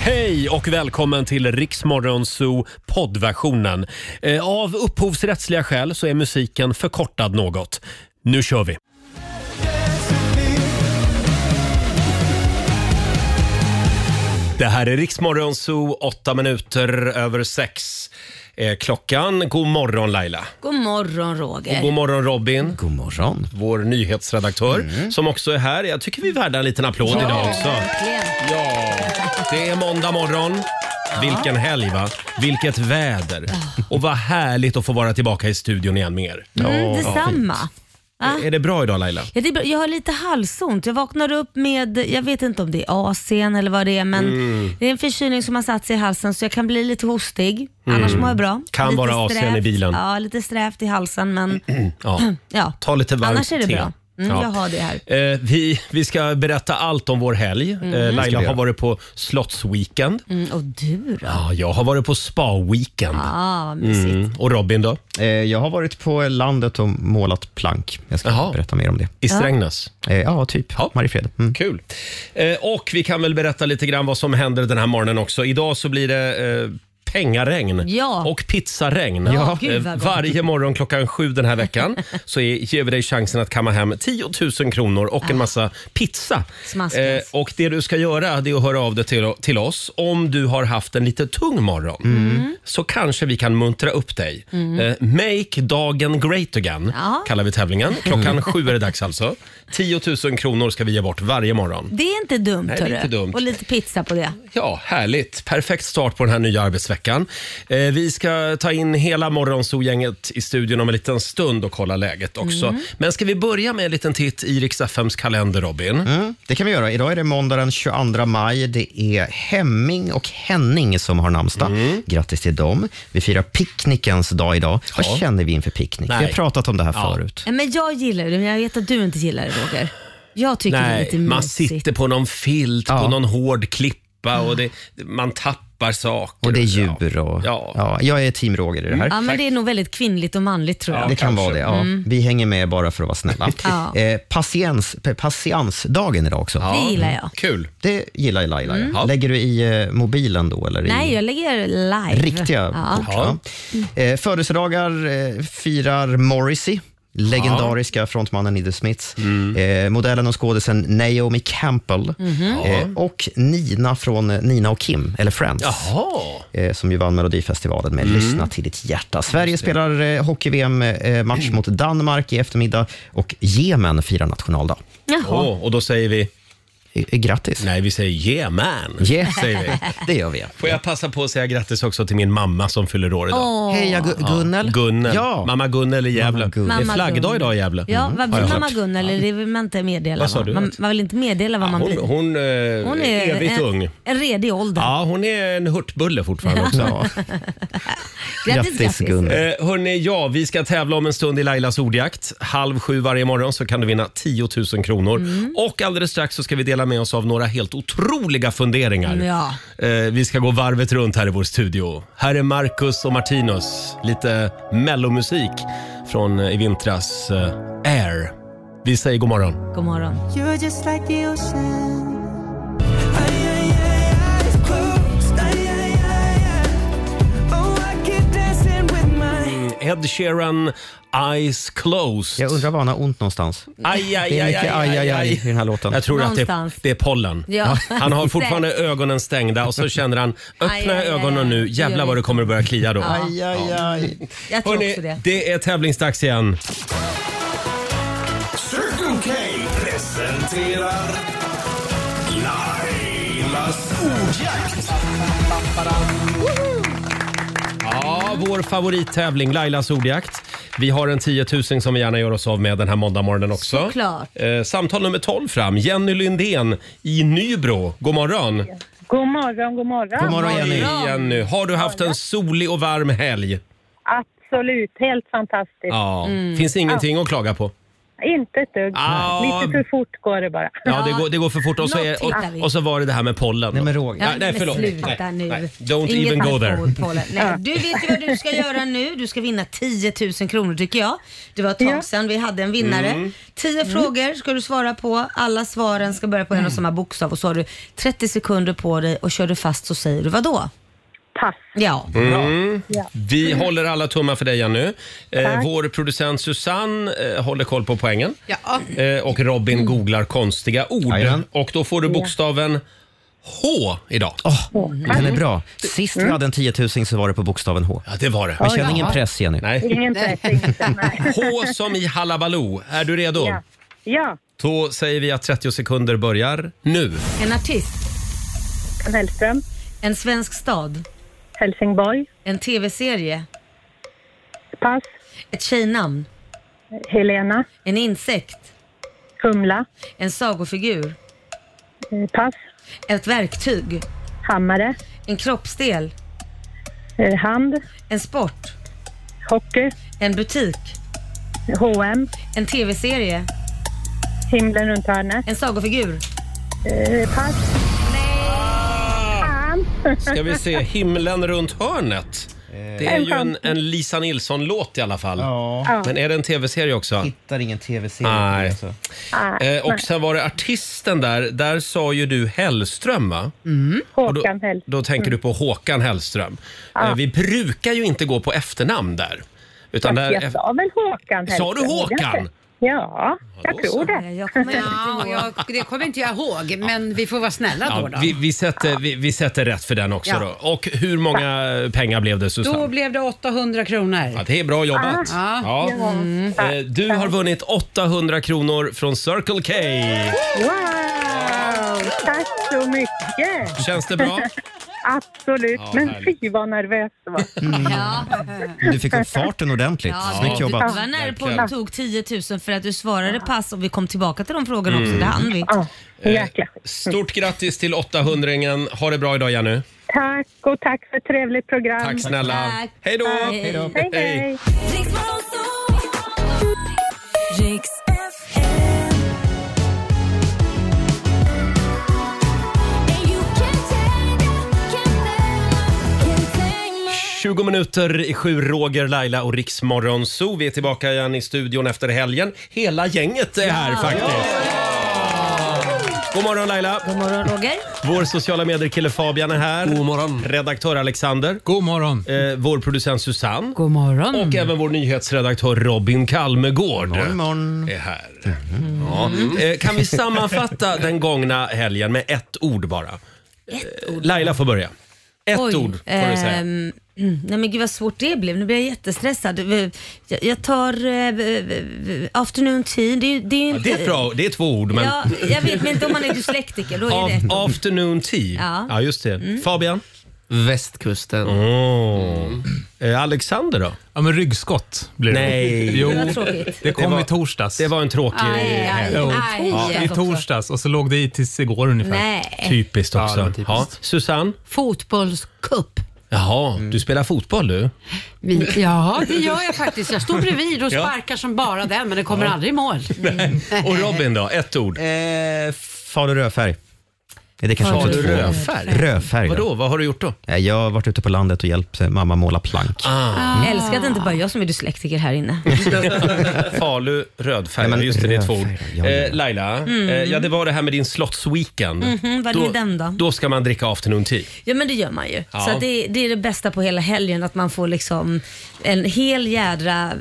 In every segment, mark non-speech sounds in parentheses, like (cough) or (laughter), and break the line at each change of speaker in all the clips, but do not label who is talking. Hej och välkommen till Riksmorgonzoo poddversionen. Eh, Av upphovsrättsliga skäl så är musiken förkortad något. Nu kör vi! Det här är Riksmorgonzoo, åtta minuter över sex eh, klockan. God morgon Laila!
God morgon Roger.
Och god morgon Robin,
God morgon. Mm.
vår nyhetsredaktör som också är här. Jag tycker vi är värda en liten applåd idag också.
Verkligen.
Ja, det är måndag morgon. Vilken helg va? Vilket väder. Och vad härligt att få vara tillbaka i studion igen med er.
Mm, detsamma.
Är- Är det bra idag Laila?
Ja, det är bra. jag har lite halsont. Jag vaknar upp med, jag vet inte om det är AC'n eller vad det är, men
Mm.
det är en förkylning som har satt sig i halsen så jag kan bli lite hostig. Annars mår jag bra.
Mm. Kan
lite
vara AC:n i
strävt.
bilen.
Ja, lite strävt i
(clears throat)
halsen men
Ja.
ja.
Ta lite varmt
Annars är det
te.
bra. Mm,
Ja.
Jag har det här.
Eh, vi, vi ska berätta allt om vår helg. Eh, Laila har varit på slottsweekend.
Mm, och du då?
Ja, jag har varit på spa-weekend.
Ah, vad mysigt.
Mm. Och Robin då?
Eh, Jag har varit på landet och målat plank. Jag ska
Jaha.
berätta mer om det.
I Strängnäs.
Eh, Ja, typ.
Ja.
Mariefred. Mm.
Kul. Eh, och vi kan väl berätta lite grann vad som händer den här morgonen också. Idag så blir det eh, pengaregn
Ja.
och pizzaregn. Eh,
Ja, gud vad gott.
varje morgon klockan sju den här
(laughs)
veckan så är, ger vi dig chansen att kamma hem 10 000 kronor och en massa pizza.
Ah.
Eh,
Smaskigt.
och det du ska göra det är att höra av dig till, till oss om du har haft en lite tung morgon. Så kanske vi kan muntra upp dig. Eh, make dagen great again
Ja.
kallar vi tävlingen. Klockan sju är det dags alltså. 10 000 kronor ska vi ge bort varje morgon.
Det är inte dumt,
Nej, det är
hörru.
inte dumt.
Och lite pizza på det.
Ja, härligt. Perfekt start på den här nya arbetsveckan. Eh, vi ska ta in hela Morgonzoo-gänget i studion om en liten stund och kolla läget också. Men ska vi börja med en liten titt i Rix FMs kalender, Robin?
Mm, det kan vi göra. Idag är det måndag den 22 maj. Det är Hemming och Henning som har namnsdag.
Mm.
Grattis till dem. Vi firar picknickens dag idag.
Ja.
Vad känner vi inför picknick?
Nej.
Vi har pratat om det här
Ja.
förut.
Nej, Men jag gillar det, men jag vet att du inte gillar det Roger. Jag tycker det är
Nej,
lite
man
mysigt.
sitter på någon filt, på
Ja.
någon hård klippa och det, man tappar saker.
Och det är djur och...
Ja. Ja.
Ja, jag är team Roger i det här.
Ja, men det är nog väldigt kvinnligt och manligt tror jag.
Det kan
kanske. Mm.
vara det. Ja. Vi hänger med bara för att vara
(laughs)
snälla.
Ja.
eh, patiens, pa- patiensdagen idag också.
Det gillar jag.
mm. Kul.
Det gillar Laila. ja.
Mm. Ja.
Lägger du i eh, mobilen då? Eller
Nej,
i
jag lägger live.
riktiga
Ja.
kort? Ja. Eh, födelsedagar eh, firar Morrissey. Legendariska frontmannen i The Smiths.
Mm.
Eh, modellen och skådisen Naomi Campbell.
Mhm.
Eh, och Nina från eh, Nina och Kim, eller Friends.
Jaha.
Eh, som ju vann Melodifestivalen
Mm.
med Lyssna till ditt hjärta. Sverige spelar eh, hockey-VM-match
Mm.
mot Danmark i eftermiddag och Jemen firar nationaldag.
Jaha.
Åh, och då säger vi,
Eh, eh, Grattis!
nej vi säger yeah man.
Yeah.
(laughs) Säger vi.
Det gör vi.
Får jag passa på att säga grattis också till min mamma som fyller år idag.
Hej, jag Gu- Gunnel.
Gunnel.
Ja.
Mamma Gunnel i Gävle.
Mamma Gunnel. Mm.
Det är
Mamma
flaggdag
Gunnel.
idag i Gävle.
Ja, vad
Har jag
blir mamma
hört.
Gunnel? eller Det vill man inte meddela.
Vad sa
va?
du?
Man, man vill inte meddela vad man
Hon,
blir.
hon, eh,
Hon
är evigt
en,
ung.
en redig ålder.
Ja, hon är en hurtbulle fortfarande också.
Ja.
Grattis,
Grattis,
grattis.
Gunnel.
Eh, hörni, ja, vi ska tävla om en stund i Lailas ordjakt. Halv sju varje morgon så kan du vinna 10 000 kronor. Och alldeles strax så ska vi dela med oss av några helt otroliga funderingar.
Ja.
Eh, vi ska gå varvet runt här i vår studio. Här är Marcus och Martinus. Lite mellomusik från eh, i vintras eh, Air. Vi säger god morgon.
God morgon.
You're just like the ocean. Ay, ay, ay, eyes closed. Ay, ay, ay, ay. Oh, I keep dancing with my.
Ed Sheeran, Eyes Closed.
Jag undrar var han har ont någonstans.
Aj,
Mm.
aj,
Det är
aj,
mycket aj, aj, aj i den här låten.
Jag tror att
Någonstans.
det, det är pollen.
Ja.
Han
(laughs)
har fortfarande ögonen stängda och så känner han, öppna
Aj, aj, aj,
ögonen
aj.
nu,
Det gör
jävlar vad
vi.
det kommer att börja klia då.
Aj, aj, aj.
Jag tror också
Hörrni,
det.
det är tävlingsdags igen.
Circle K presenterar Lailas ordjakt.
Ja, vår favorittävling, Lailas ordjakt. Vi har en 10 000 som vi gärna gör oss av med den här måndagmorgonen också.
Såklart.
Eh, samtal nummer 12 fram, Jenny Lindén i Nybro. God morgon.
God morgon, god morgon.
God morgon, Jenny.
Hej, Jenny. Har du haft en solig och varm helg?
Absolut, helt fantastiskt.
Mm.
Ja. Finns ingenting att klaga på?
Inte ett dugg.
Ah.
Lite för fort går det bara.
Ja, det går, det går för fort. Och så,
Nå
är,
tittar vi.
och, och så var det det här med pollen.
Nej, men Roger.
Ja, nej,
men
förlåt.
Sluta
Nej,
nu.
nej. Don't
Inget
even go
alkohol
there.
på det. Nej, du vet ju vad du ska göra nu. Du ska vinna 10 000 kronor tycker jag. Det var ett tag sedan vi hade en
Mm.
vinnare. 10 frågor ska du svara på. Alla svaren ska börja på en och samma bokstav och så har du 30 sekunder på dig och kör du fast så säger du vad då?
Pass.
Ja.
Mm. Vi
Mm.
håller alla tummar för dig, Jenny. Eh, vår producent Susanne eh, håller koll på poängen.
Ja.
Eh, och
Mm.
Robin googlar konstiga ord.
Jajamän.
Och då får du bokstaven H idag.
Åh, den är bra. Sist vi hade en 10 000 så var det på bokstaven H.
Ja, det var det.
Vi känner ingen press, Jenny.
Nej.
Ingen press, inte.
(laughs)
Nej.
H som i Hallabaloo. Är du redo?
Ja. ja,
Då säger vi att 30 sekunder börjar nu.
En artist,
Hellström.
en svensk stad,
Helsingborg.
en tv-serie,
Pass.
ett tjejnamn,
Helena.
en insekt,
Humla.
en sagofigur,
Eh, Pass.
ett verktyg,
Hammare.
en kroppsdel,
Eh, Hand.
en sport,
Hockey.
en butik,
H&M.
en tv-serie,
Himlen runt hörnet.
en sagofigur.
Eh, Pass.
Ah.
Fan.
Ska vi se, Himlen runt hörnet. Det är ju en, en Lisa Nilsson-låt i alla fall.
Ja.
Men är det en tv-serie också?
Hittar ingen tv-serie.
Nej.
Alltså.
Nej,
Eh, och sen var det artisten där. Där sa ju du Hellström va? Och då,
Håkan Hellström.
då tänker du på Håkan Hellström. Eh, vi brukar ju inte gå på efternamn där. Utan där
Jag sa väl Håkan
Sa
Hellström,
du Håkan?
gjorde jag inte? Ja, jag
då
tror
så.
det.
Eh, Jag kommer inte
Ja,
ihåg.
jag, det kommer inte jag ihåg, men vi får vara snälla då.
ja,
då.
vi, vi, sätter, vi, vi sätter rätt för den också
Ja.
då. Och hur många pengar blev det Susanne?
Då blev det 800
Ja,
kronor.
det är bra jobbat.
Ah.
Ja. Eh, Du har vunnit 800 kronor från Circle K.
Wow! Tack så mycket!
Känns det bra?
Absolut,
Ja,
men
härligt.
fy vad nervös det
(laughs)
var.
Ja.
Du fick upp farten ordentligt.
Ja,
Snyggt
du-
Du
jobbat.
var nära på
Verkligen.
att du tog 10 000 för att du svarade pass och vi kom tillbaka till de frågorna
Mm.
också. Det hann vi.
Ja,
Eh,
jäkla skit.
Stort grattis till 800-ringen. Ha det bra idag Jenny.
Tack och tack för ett trevligt program.
Tack snälla.
Tack.
Hej då!
Hej då.
Hej,
Hej.
hej!
Riks FM. And you can't take it, can't take it, can't take it.
20 minuter i sju, Roger, Laila och Riksmorgon Zoo. Vi är tillbaka igen i studion efter helgen. Hela gänget är här faktiskt. God morgon Laila!
God morgon Roger.
Vår sociala medier-kille Fabian är här.
God morgon.
Redaktör Alexander.
God morgon.
Eh, vår producent Susanne.
God morgon.
Och även vår nyhetsredaktör Robin Kalmegård
Imorgon.
är här. Ja. Eh, kan vi sammanfatta den gångna helgen med ett ord bara? Ett ord. Laila får börja. Ett
Oj,
ord får du säga.
ehm, (clears throat) mm, nej men gud vad svårt det blev. Nu blir jag jättestressad. Eh, Jag, jag tar eh, eh, afternoon tea. Det, är ju- det är ju
Ja,
inte...
det, är ett bra, det är två ord men...
Ja, jag vet, men inte om man är dyslektiker. Då är
Av,
det ett.
afternoon tea. Ja.
Ja. Mm.
just det. Fabian?
Västkusten.
Oh. Eh, Alexander då?
Ja, men ryggskott blir det.
Nej.
Jo,
Det var tråkigt.
det kom
Det var-
i torsdags.
Det var en tråkig
Aj, aj,
helg.
Jo.
aj.
Ja, I torsdags och så låg det i tills igår ungefär.
Nej.
Typiskt
Ja, det
också.
var
Ja,
typiskt.
Susanne?
Fotbollscup.
Jaha, du spelar fotboll du?
Mm.
Vi- Ja, det gör jag faktiskt. Jag står bredvid
(laughs)
och sparkar som bara den, men det kommer aldrig i mål.
Och Robin då? Ett
(laughs)
ord.
Eh, Falu rödfärg. Är det kanske
Falu
också två?
rödfärg?
Rödfärg.
Vadå,
ja.
vad har du gjort då?
Nej, Jag har varit ute på landet och hjälpt eh, mamma måla plank.
Jag älskar att det inte bara är jag som är dyslektiker här inne.
Mm. (laughs) Falu rödfärg,
Ja, men
just det, det är två ord.
rödfärg, ja, ja.
Eh, Laila, eh, ja det var det här med din slottsweekend.
Mm. Mhm, vad är det med den då?
då ska man dricka afternoon tea.
Ja men det gör man ju.
Ja.
Så att det, det är det bästa på hela helgen att man får liksom en hel jädra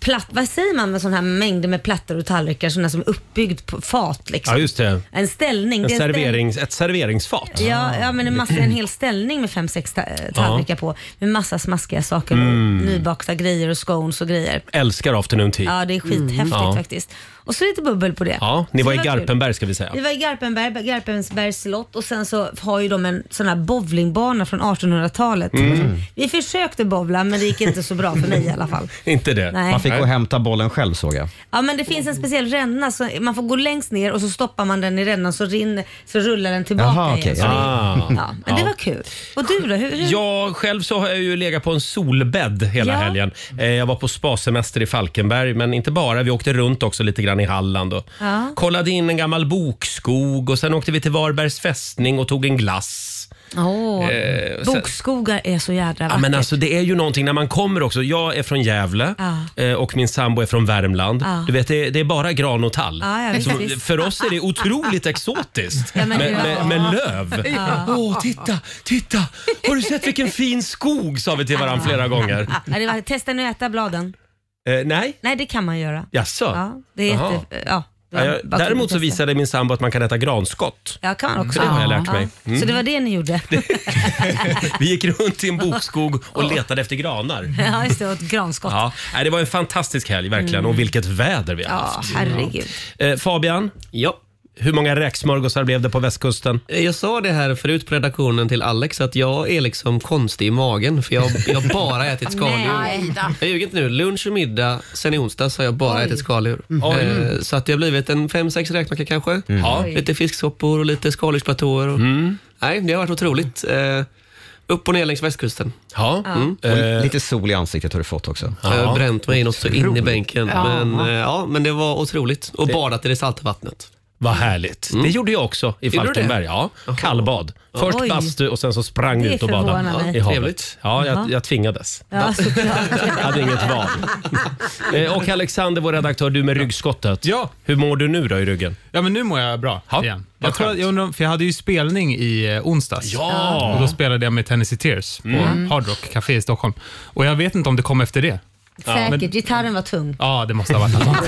platt, vad säger man med sån här mängder med plattor och tallrikar, sådana som är uppbyggd på fat liksom.
Ja, just det.
En ställning.
En
det är en ställ-
serverings, ett serveringsfat.
Ja, ja men en, massa, en hel ställning med fem, sex ta- tallrikar på. Med massa smaskiga saker
Mm.
och nybakta grejer och scones och grejer.
Älskar afternoon tea.
Ja det är skithäftigt
Mm. Ja.
faktiskt. Och så lite bubbel på det.
Ja, ni
Så
var i
det kul.
Garpenberg ska vi säga.
Vi var i Garpenberg, Garpenbergs slott och sen så har ju de en sån här bowlingbana från 1800-talet.
Mm.
Vi försökte bowla men det gick inte så bra för mig i alla fall.
Inte det?
Nej.
Man fick gå och hämta bollen själv såg jag.
Ja men det finns en speciell ränna, så man får gå längst ner och så stoppar man den i rännan så, rinner, så rullar den tillbaka
Jaha, okej.
igen. Så det-
Ah.
Ja, men det var kul. Och du då? Hur, hur?
Jag själv så har jag ju legat på en solbädd hela
Mm. Ja.
helgen. Eh, Jag var på spasemester i Falkenberg, men inte bara. Vi åkte runt också lite grann. i Halland och
Ja.
kollade in en gammal bokskog och sen åkte vi till Varbergs fästning och tog en glass.
Åh,
Eh, sen-
bokskogar är så jädra
Ja,
vackert.
men alltså, det är ju någonting när man kommer också. Jag är från Gävle
Ja.
eh, och min sambo är från Värmland.
Ja.
Du vet, det, det är bara gran och tall.
Ja, ja, visst,
Så
visst.
för oss är det otroligt exotiskt
(laughs) Ja, men
med,
ja.
med, med löv.
(laughs)
Åh, titta, titta! Har du sett vilken fin skog? sa vi till varandra flera
(laughs)
gånger.
Ja, det var, testa nu äta bladen.
Eh, nej,
Nej, det kan man göra.
jaså?
Ja, det är
Jaha.
jätte... Ja, det
Ja,
var
jag,
bara kul
däremot
att
så
testa.
visade min sambo att man kan äta granskott.
Ja, kan man också.
Det har jag lärt
Ja.
mig. Mm.
Så det var det ni gjorde?
Vi gick runt i en bokskog och letade efter granar.
ja, just det. Åt granskott. Ja,
Ja, nej, det var en fantastisk helg verkligen
Mm.
och vilket väder vi har haft.
herregud.
Eh, Fabian,
Ja.
hur många räksmörgåsar blev det på västkusten?
Jag sa det här förut på redaktionen till Alex att jag är liksom konstig i magen för jag jag har bara ätit skaldjur.
Nej då.
Jag ljuger inte nu. Lunch och middag sen i onsdags har jag bara ätit skaldjur.
Mm.
Eh, så att det har blivit en fem, sex räkmackor kanske.
Mm.
Ja.
Lite fisksoppor och lite skaldjursplatåer. Och... Nej, det har varit otroligt. Eh, upp och ner längs västkusten.
Ja.
Mm.
Eh,
Och lite sol i ansiktet har du fått också.
Ah.
Jag har bränt mig något så in i bänken.
Ja.
Men, eh, ja, men det var otroligt. Och badat i det salta vattnet.
Vad härligt. Det gjorde jag också i
du det?
Falkenberg. Ja, kallbad. Först
Oj.
bastu och sen så sprang jag
Det
ut och badade
förvånar mig.
i havet.
Trevligt.
Ja, jag, jag tvingades.
Ja, såklart.
Jag hade inget val. Eh, Och Alexander, vår redaktör, du med ryggskottet.
Ja.
Hur mår du nu då i ryggen?
Ja, men nu mår jag bra
Ja,
igen.
vad
Jag, tror,
skönt.
jag, undrar, om- för jag hade ju spelning i eh, onsdags.
Ja.
Och då spelade jag med Tennessee Tears
Mm.
på Hard Rock Café i Stockholm. Och jag vet inte om det kom efter det.
Säkert. Gitarren var tung.
Ja, det måste ha varit något
(laughs)
annat.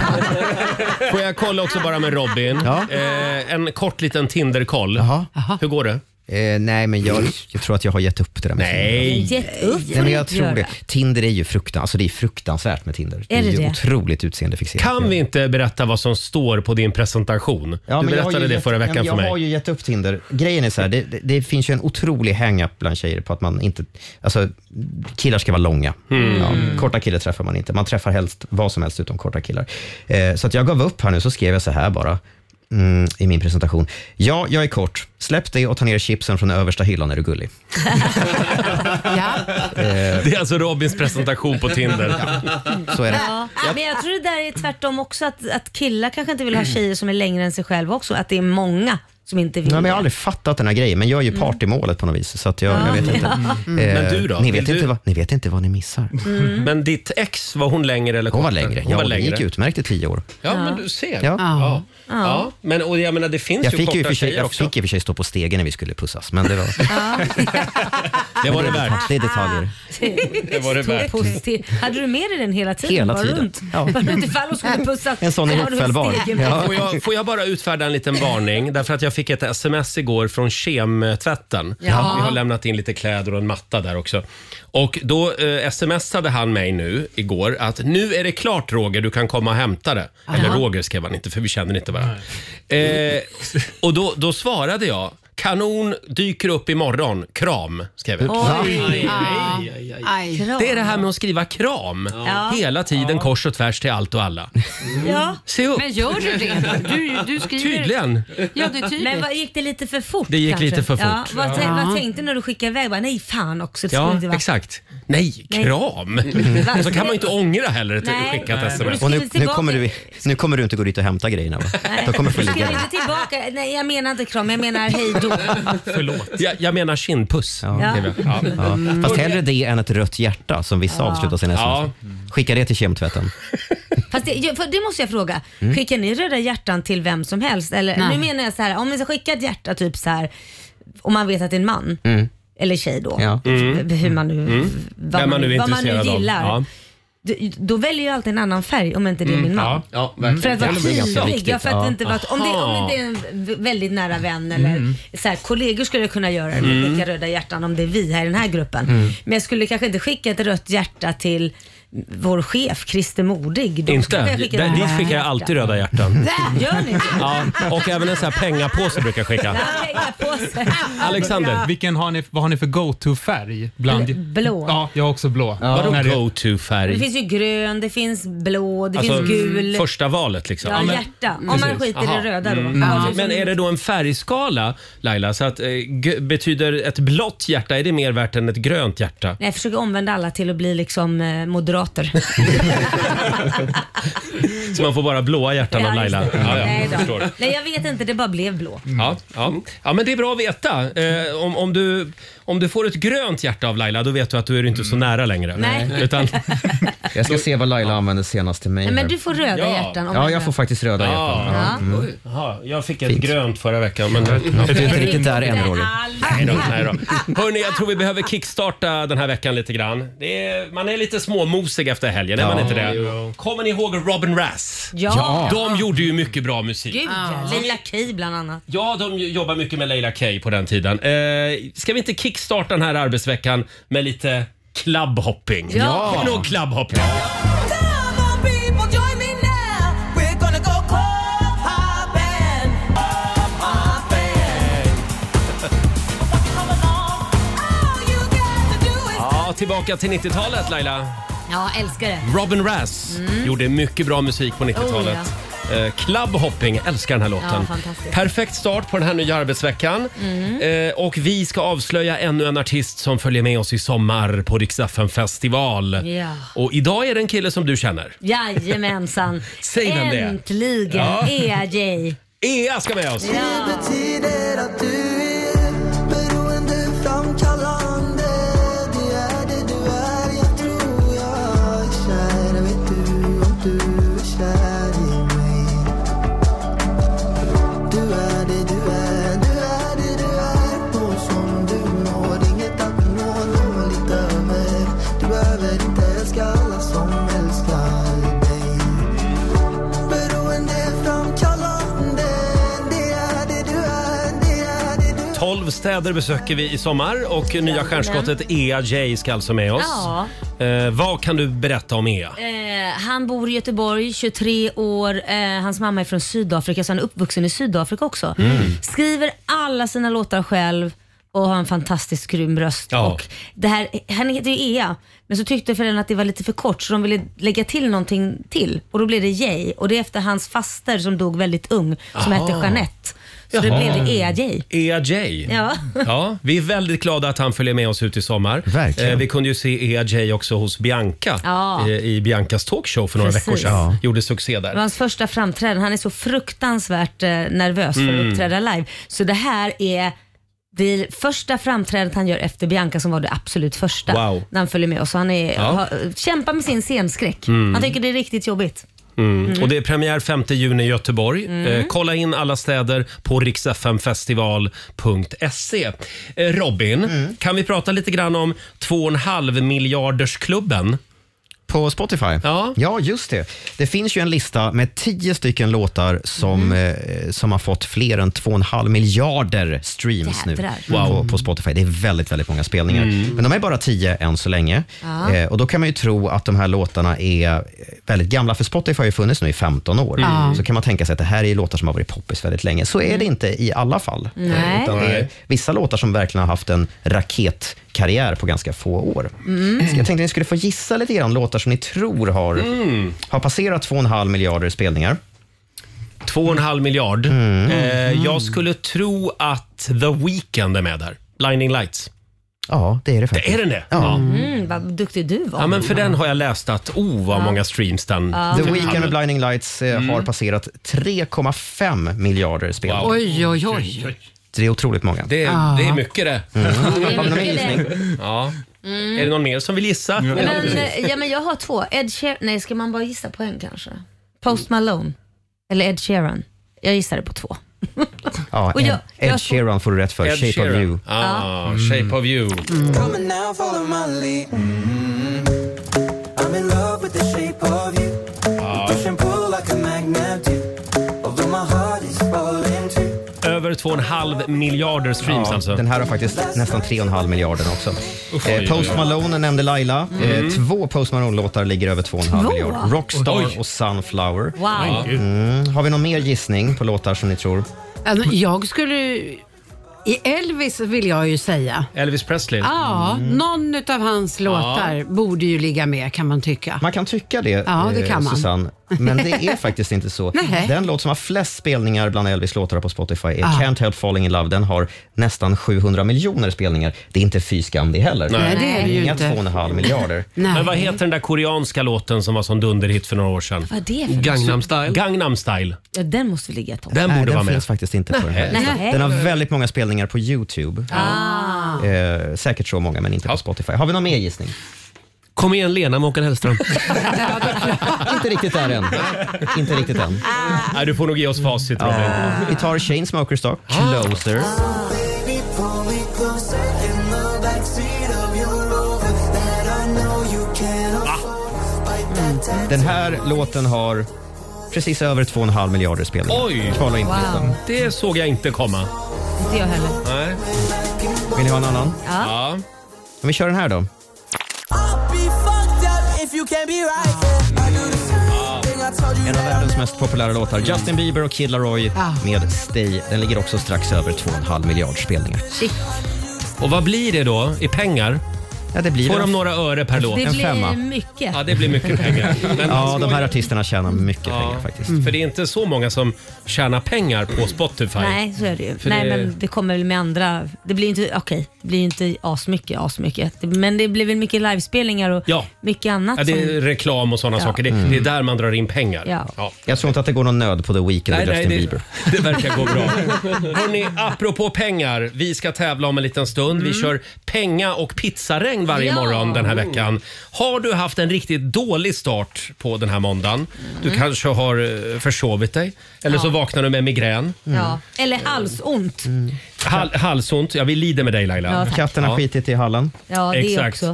Får jag kolla också bara med Robin?
Ja.
Eh, en kort liten Tinder-koll.
Jaha.
Hur går det?
Eh, nej, men jag, jag tror att jag har gett upp det där med Tinder.
Gett upp
Nej, men jag
får du
tror
inte
det.
göra.
Tinder är ju fruktansvärt, alltså det är fruktansvärt med Tinder.
Är det
ju
det?
otroligt utseendefixerat.
Kan vi inte berätta vad som står på din presentation?
Ja,
du
men jag har
berättade
ju
det
gett-
förra
ja,
veckan
men
för
Jag
mig.
har ju gett upp Tinder. Grejen är så här, det, det, det finns ju en otrolig hang-up bland tjejer på att man inte... Alltså, killar ska vara långa.
Mm.
Ja, korta killar träffar man inte. Man träffar helst vad som helst utom korta killar. Eh, så att jag gav upp här nu, så skrev jag så här bara. Mm, I min presentation. Ja, jag är kort. Släpp dig och ta ner chipsen från översta hyllan är du gullig.
Ja.
Det är alltså Robins presentation på Tinder.
Så är det.
Ja, men jag tror det där är tvärtom också att, att killar kanske inte vill ha tjejer som är längre än sig själva också. Att det är många som inte vill
Nej, men jag har
det.
aldrig fattat den här grejen, men jag är
Mm.
ju part i målet på något vis. Så att jag,
Ah,
jag vet inte. Eh,
Men du då?
Ni vet,
Vill
inte
du-
vad, ni vet inte vad ni missar.
Mm.
Mm. Men ditt ex, var hon längre eller
Hon var
kortare?
längre.
Hon
Ja,
var
det
längre.
gick utmärkt i tio år.
Ja, men du ser.
Ja.
Ja. Ja, Men och jag menar det finns
Jag
ju
fick ju i och
korta
för sig,
tjejer
jag
också.
fick i och för sig stå på stegen när vi skulle pussas, men det
(laughs)
var,
Det var det värt.
Ah,
det är detaljer.
Det var det värt.
Positiv. Hade du med dig den hela tiden?
Hela
Var
tiden.
Runt?
Ja.
Var du inte fall och skulle pussa?
En sån
så har du
ihopfällbar.
stegen med.
Ja.
Får jag, får jag bara utfärda en liten varning? Därför att jag fick ett sms igår från kemtvätten.
Ja.
Vi har lämnat in lite kläder och en matta där också. Och då eh, smsade han mig nu igår att nu är det klart Roger, du kan komma och hämta det. Eller Roger skrev han inte för vi känner inte varandra. Eh, och då, då svarade jag Kanon dyker upp imorgon. Kram, skrev jag.
Oj. Aj.
Det är det här med att skriva kram hela tiden kors och tvärs till allt och alla.
Ja.
Se upp!
Men gör du det? Du, du skriver...
Tydligen.
Ja, det är tydligt.
Men vad, gick det lite för fort?
Det gick
kanske?
lite för
Ja,
fort.
vad, tän- vad tänkte du när du skickade iväg? Bara, nej, fan också. Det skulle
Ja,
inte vara.
exakt. Nej,
Nej. Mm.
kram! Och så kan man ju inte ångra heller att
Nej.
skicka ett sms.
Och nu,
Skriv
nu,
tillbaka.
kommer du, nu kommer du inte gå dit och hämta grejerna va? Då kommer du få
Du
ligga
skrev
där.
inte tillbaka. Nej, jag menar inte kram. Jag menar hej då.
Förlåt. Jag, jag menar kindpuss.
Ja.
skrev jag. Ja.
Ja.
Mm.
Fast hellre det än ett rött hjärta som vissa
Ah.
avslutar sina
Ja.
sms med. Skicka det till kemtvätten.
Fast det, ju- för det måste jag fråga.
Mm.
Skickar ni röda hjärtan till vem som helst? Eller,
Nej.
nu menar jag så här, om ni ska skicka ett hjärta typ så här, om man vet att det är en man.
Mm.
Eller tjej då.
Ja.
F- Hur man nu, vad,
Vem man nu är
vad man nu
intresserad av.
gillar.
Ja. Mm.
D- Då väljer jag alltid en annan färg om inte det är min man.
Ja.
Ja, verkligen.
För att vara
Det blir ganska
tydlig.
viktigt,
Ja, för att
ja.
inte vara, om, det, om det är en v- väldigt nära vän eller
Mm.
så här, kollegor skulle jag kunna göra det. Mm. Skicka röda hjärtan om det är vi här i den här gruppen.
Mm.
Men jag skulle kanske inte skicka ett rött hjärta till vår chef Christer Modig. Då
Inte?
skulle jag skicka
Där,
ett
dit
rött
skickar jag
hjärta.
alltid röda
(laughs)
hjärtan.
Där gör ni det?
Ja. Och även en sån här pengapåse brukar jag skicka.
Där lägger jag på sig.
Alexander,
Vilken har ni, vad har ni för go-to-färg? Bland...
Blå.
Ja, jag har också blå.
vadå
När det-
Det
go-to-färg?
finns ju grön, det finns blå, det finns gul.
första valet liksom.
Ja,
Alltså, men,
hjärta. Om man
Precis.
skiter i
Aha. Mm.
det röda då. Ja.
men är det då en färgskala Laila? Så att, eh, g- betyder ett blått hjärta, är det mer värt än ett grönt hjärta?
Nej, jag försöker omvända alla till att bli liksom eh, moderater.
Så man får bara blåa hjärtan av
Ja, just
Laila.
det.
Ja, ja,
Nej,
jag
då.
förstår.
Nej, jag vet inte. Det bara blev blå.
Ja, ja. ja, men det är bra att veta. Eh, om, om, du, om du får ett grönt hjärta av Laila, då vet du att du är inte så nära längre.
Nej.
(laughs) Utan,
Jag ska se vad Laila använder senast till mig.
Nej, men
här.
du får röda hjärtan. Om
Ja,
du-
jag får faktiskt röda
Ja.
hjärtan. Ja.
(laughs) Ja.
Mm.
Jaha, jag fick ett grönt förra veckan. Men,
Jag är inte riktigt där än, Roger.
Nej då, nej då. Hörrni, jag tror vi behöver kickstarta den här veckan lite grann. Det är, man är lite småmosig efter helgen, är man
Ja.
inte det? Kommer ni ihåg Robin Rass?
Ja.
De gjorde ju mycket bra musik.
Gud, ja. Leila Key bland annat.
Ja, de jobbar mycket med Leila Kay på den tiden. Eh, ska vi inte kickstarta den här arbetsveckan med lite clubhopping?
Ja.
Kommer ni ihåg clubhopping?
Come on, people, join me now. We're gonna go club hopping. Club hopping. (laughs) Come along. All you got to do is
Ja, tillbaka till 90-talet Laila.
Ja, älskar det.
Robin Rass
Mm.
gjorde mycket bra musik på 90-talet. Eh, Club Hopping, älskar den här låten.
Oh, Ja, fantastiskt. Mm.
Perfekt start på den här nya arbetsveckan. Eh, och vi ska avslöja ännu en artist som följer med oss i sommar på Rix FM festival.
Ja.
Och idag är det en kille som du känner.
Jajamensan.
Säg vem det är.
Äntligen
Ja.
är jag Jay.
Ea ska med oss!
Ja.
betyder att du är beroendeframkallande. Det är det du är, jag tror jag är kär. Vet du om du är kär i mig? Du är det du är, du är det du är. Någon som du når, inget att nå, dåligt över. Du behöver inte älska alla som älskar dig. Beroendeframkallande. Det är det du är, det är det du är.
12 städer besöker vi i sommar och nya stjärnskottet Ea Jay ska alltså med oss.
Ja.
Eh, vad kan du berätta om Ea?
Eh, han bor i Göteborg, 23 år. Eh, hans mamma är från Sydafrika så han är uppvuxen i Sydafrika också.
Mm.
Skriver alla sina låtar själv och har en fantastiskt grym röst.
Ja.
Och det här, han heter ju Ea, men så tyckte föräldrarna att det var lite för kort så de ville lägga till någonting till och då blev det Jay och det är efter hans faster som dog väldigt ung som
Aha.
hette Jeanette. Så det
Jaha.
blev det Ea Jay.
Ea Jay.
Ja.
Ja, vi är väldigt glada att han följer med oss ut i sommar.
Verkligen.
Eh, vi kunde ju se Ea Jay också hos Bianca eh,
Ja.
i, i Biancas talkshow för några
Precis.
veckor sedan.
Ja.
Gjorde succé där.
Det var hans första framträdande. Han är så fruktansvärt eh, nervös för
Mm.
att uppträda live. Så det här är det första framträdandet han gör efter Bianca som var det absolut första.
Wow.
När han följer med oss. Så Han är,
Ja.
har, kämpar med sin scenskräck. Han tycker det är riktigt jobbigt.
Mm. Och det är premiär 5 juni i Göteborg.
Mm.
Eh, kolla in alla städer på riksfmfestival.se. Eh, Robin,
Mm.
kan vi prata lite grann om 2,5 miljardersklubben?
På Spotify?
Ja.
ja, just det. Det finns ju en lista med tio stycken låtar som,
Mm.
eh, som har fått fler än 2,5 miljarder streams
Jädrar. Mm.
nu på, på Spotify. Det är väldigt, väldigt många spelningar. Men de är bara tio än så länge. Eh, och Då kan man ju tro att de här låtarna är eh, väldigt gamla, för Spotify har ju funnits nu i 15 år.
Mm.
Så kan man tänka sig att det här är låtar som har varit poppis väldigt länge. Så är det inte i alla fall. Eh,
Nej.
Utan det är vissa låtar som verkligen har haft en raketkarriär på ganska få år. Så jag tänkte ni skulle få gissa lite grann låtar som ni tror har, har passerat 2,5 miljarder spelningar.
2,5 miljard.
Mm.
Eh, jag skulle tro att The Weeknd är med där. Blinding Lights.
Ja, det är det faktiskt.
Är den det?
Ja.
Mm, vad duktig du var.
Ja, men för den har jag läst att, oh vad många streams den
The Weeknd och Blinding Lights eh, har passerat 3,5 miljarder spelningar.
Wow.
Oj, oj, oj.
Det är otroligt många.
Det är, det är mycket det.
Har vi någon
mycket
gissning?
Ja. Är det någon mer som vill gissa?
Men, eh, ja, men jag har två. Ed Sheeran. Nej, ska man bara gissa på en kanske? Post Malone. Eller Ed Sheeran. Jag gissade
(laughs)
på två.
Ja,
Och jag-
Ed, Ed
jag-
Sheeran får du rätt för.
Ed
Shape
Sheeran.
of you.
Ah, Shape of you.
Come on now, follow my lead.
Mm-hmm.
I'm in love with the shape of you. Push and pull like a magnet do. Although my heart is falling too.
Över 2,5 miljarder streams alltså.
Den här har faktiskt nästan 3,5 miljarder också.
oj,
eh, Post
oj.
Malone nämnde Laila.
Mm.
Eh, två Post Malone-låtar ligger över 2,5
Två?
miljarder. Rockstar
Oj.
och Sunflower.
Wow.
Mm. Har vi någon mer gissning på låtar som ni tror?
Alltså, jag skulle... I Elvis vill jag ju säga.
Elvis Presley.
Ja, någon av hans låtar borde ju ligga med kan man tycka.
Man kan tycka det,
Ja, det
eh,
kan man.
Susanne. Men det är faktiskt inte så.
Nej.
Den låt som har flest spelningar bland Elvis låtar på Spotify är
Ah.
Can't Help Falling In Love. Den har nästan 700 miljoner spelningar. Det är inte fy skam det heller.
Nej, det är det ju
Inga
inte.
2,5 miljarder.
Men vad heter den där koreanska låten som var sån dunderhit för några år sedan?
Vad är det för Gangnam
Style. Gangnam Style.
Ja, den måste vi ligga i topp.
Den
Nej,
borde
den
vara med.
finns faktiskt inte på den här
Nej.
listan.
Nej.
Den har väldigt många spelningar på Youtube.
Ah.
Eh, säkert så många, men inte på Spotify. Har vi någon mer
(laughs)
gissning?
Kom igen Lena med Håkan Hellström.
inte riktigt där än. Inte riktigt än.
(laughs)
Ah.
Nej, du får nog ge oss facit Robin.
Vi tar Chainsmokers då. Closer.
Baby, pull me closer in the backseat of your Rover that I know you can't afford. Bite that tax-
Den här låten har precis över 2,5 miljarder spelningar.
Oj!
Kvala in på listan.
Det såg jag inte komma.
Inte jag heller.
Nej.
Vill ni ha en annan?
Ja.
Om vi kör den här då.
I'll be fucked up if you can't be right. I do the same thing I told you
En av
that
världens mest populära låtar. Justin Bieber och Kid Laroi
Ah.
med Stay. Den ligger också strax över 2,5 miljard spelningar.
Och vad blir det då i pengar?
Ja, det blir
Får de
det.
några öre per låt?
Det
En
blir
femma.
mycket.
Ja, det blir mycket
(laughs)
pengar. Men
Ja, de här artisterna tjänar mycket pengar faktiskt.
För det är inte så många som tjänar pengar på Spotify.
Nej, så är det ju.
För
Nej,
det-
men det kommer väl med andra. Det blir inte, okej, det blir inte asmycket, asmycket. Det- Men det blir väl mycket livespelningar och
Ja.
mycket annat.
Ja, det
som,
är reklam och sådana
Ja. Mm.
saker. Det, det är där man drar in pengar.
Ja.
Jag tror inte att det går någon nöd på The Weeknd och
Nej,
Justin
nej,
Bieber.
det, (laughs) det verkar gå
(laughs)
bra. Hörrni, apropå pengar. Vi ska tävla om en liten stund. Vi kör penga och pizzaregn varje
Mm. Ja. Mm.
morgon den här veckan. Har du haft en riktigt dålig start på den här måndagen? Du
Mm.
kanske har eh, försovit dig eller så vaknar du med migrän.
ja. Eller halsont.
Mm. Hal halsont. Ja, vi lider med dig Laila.
Ja, tack.
Katten har skitit i hallen.
Ja, det
Exakt.
också.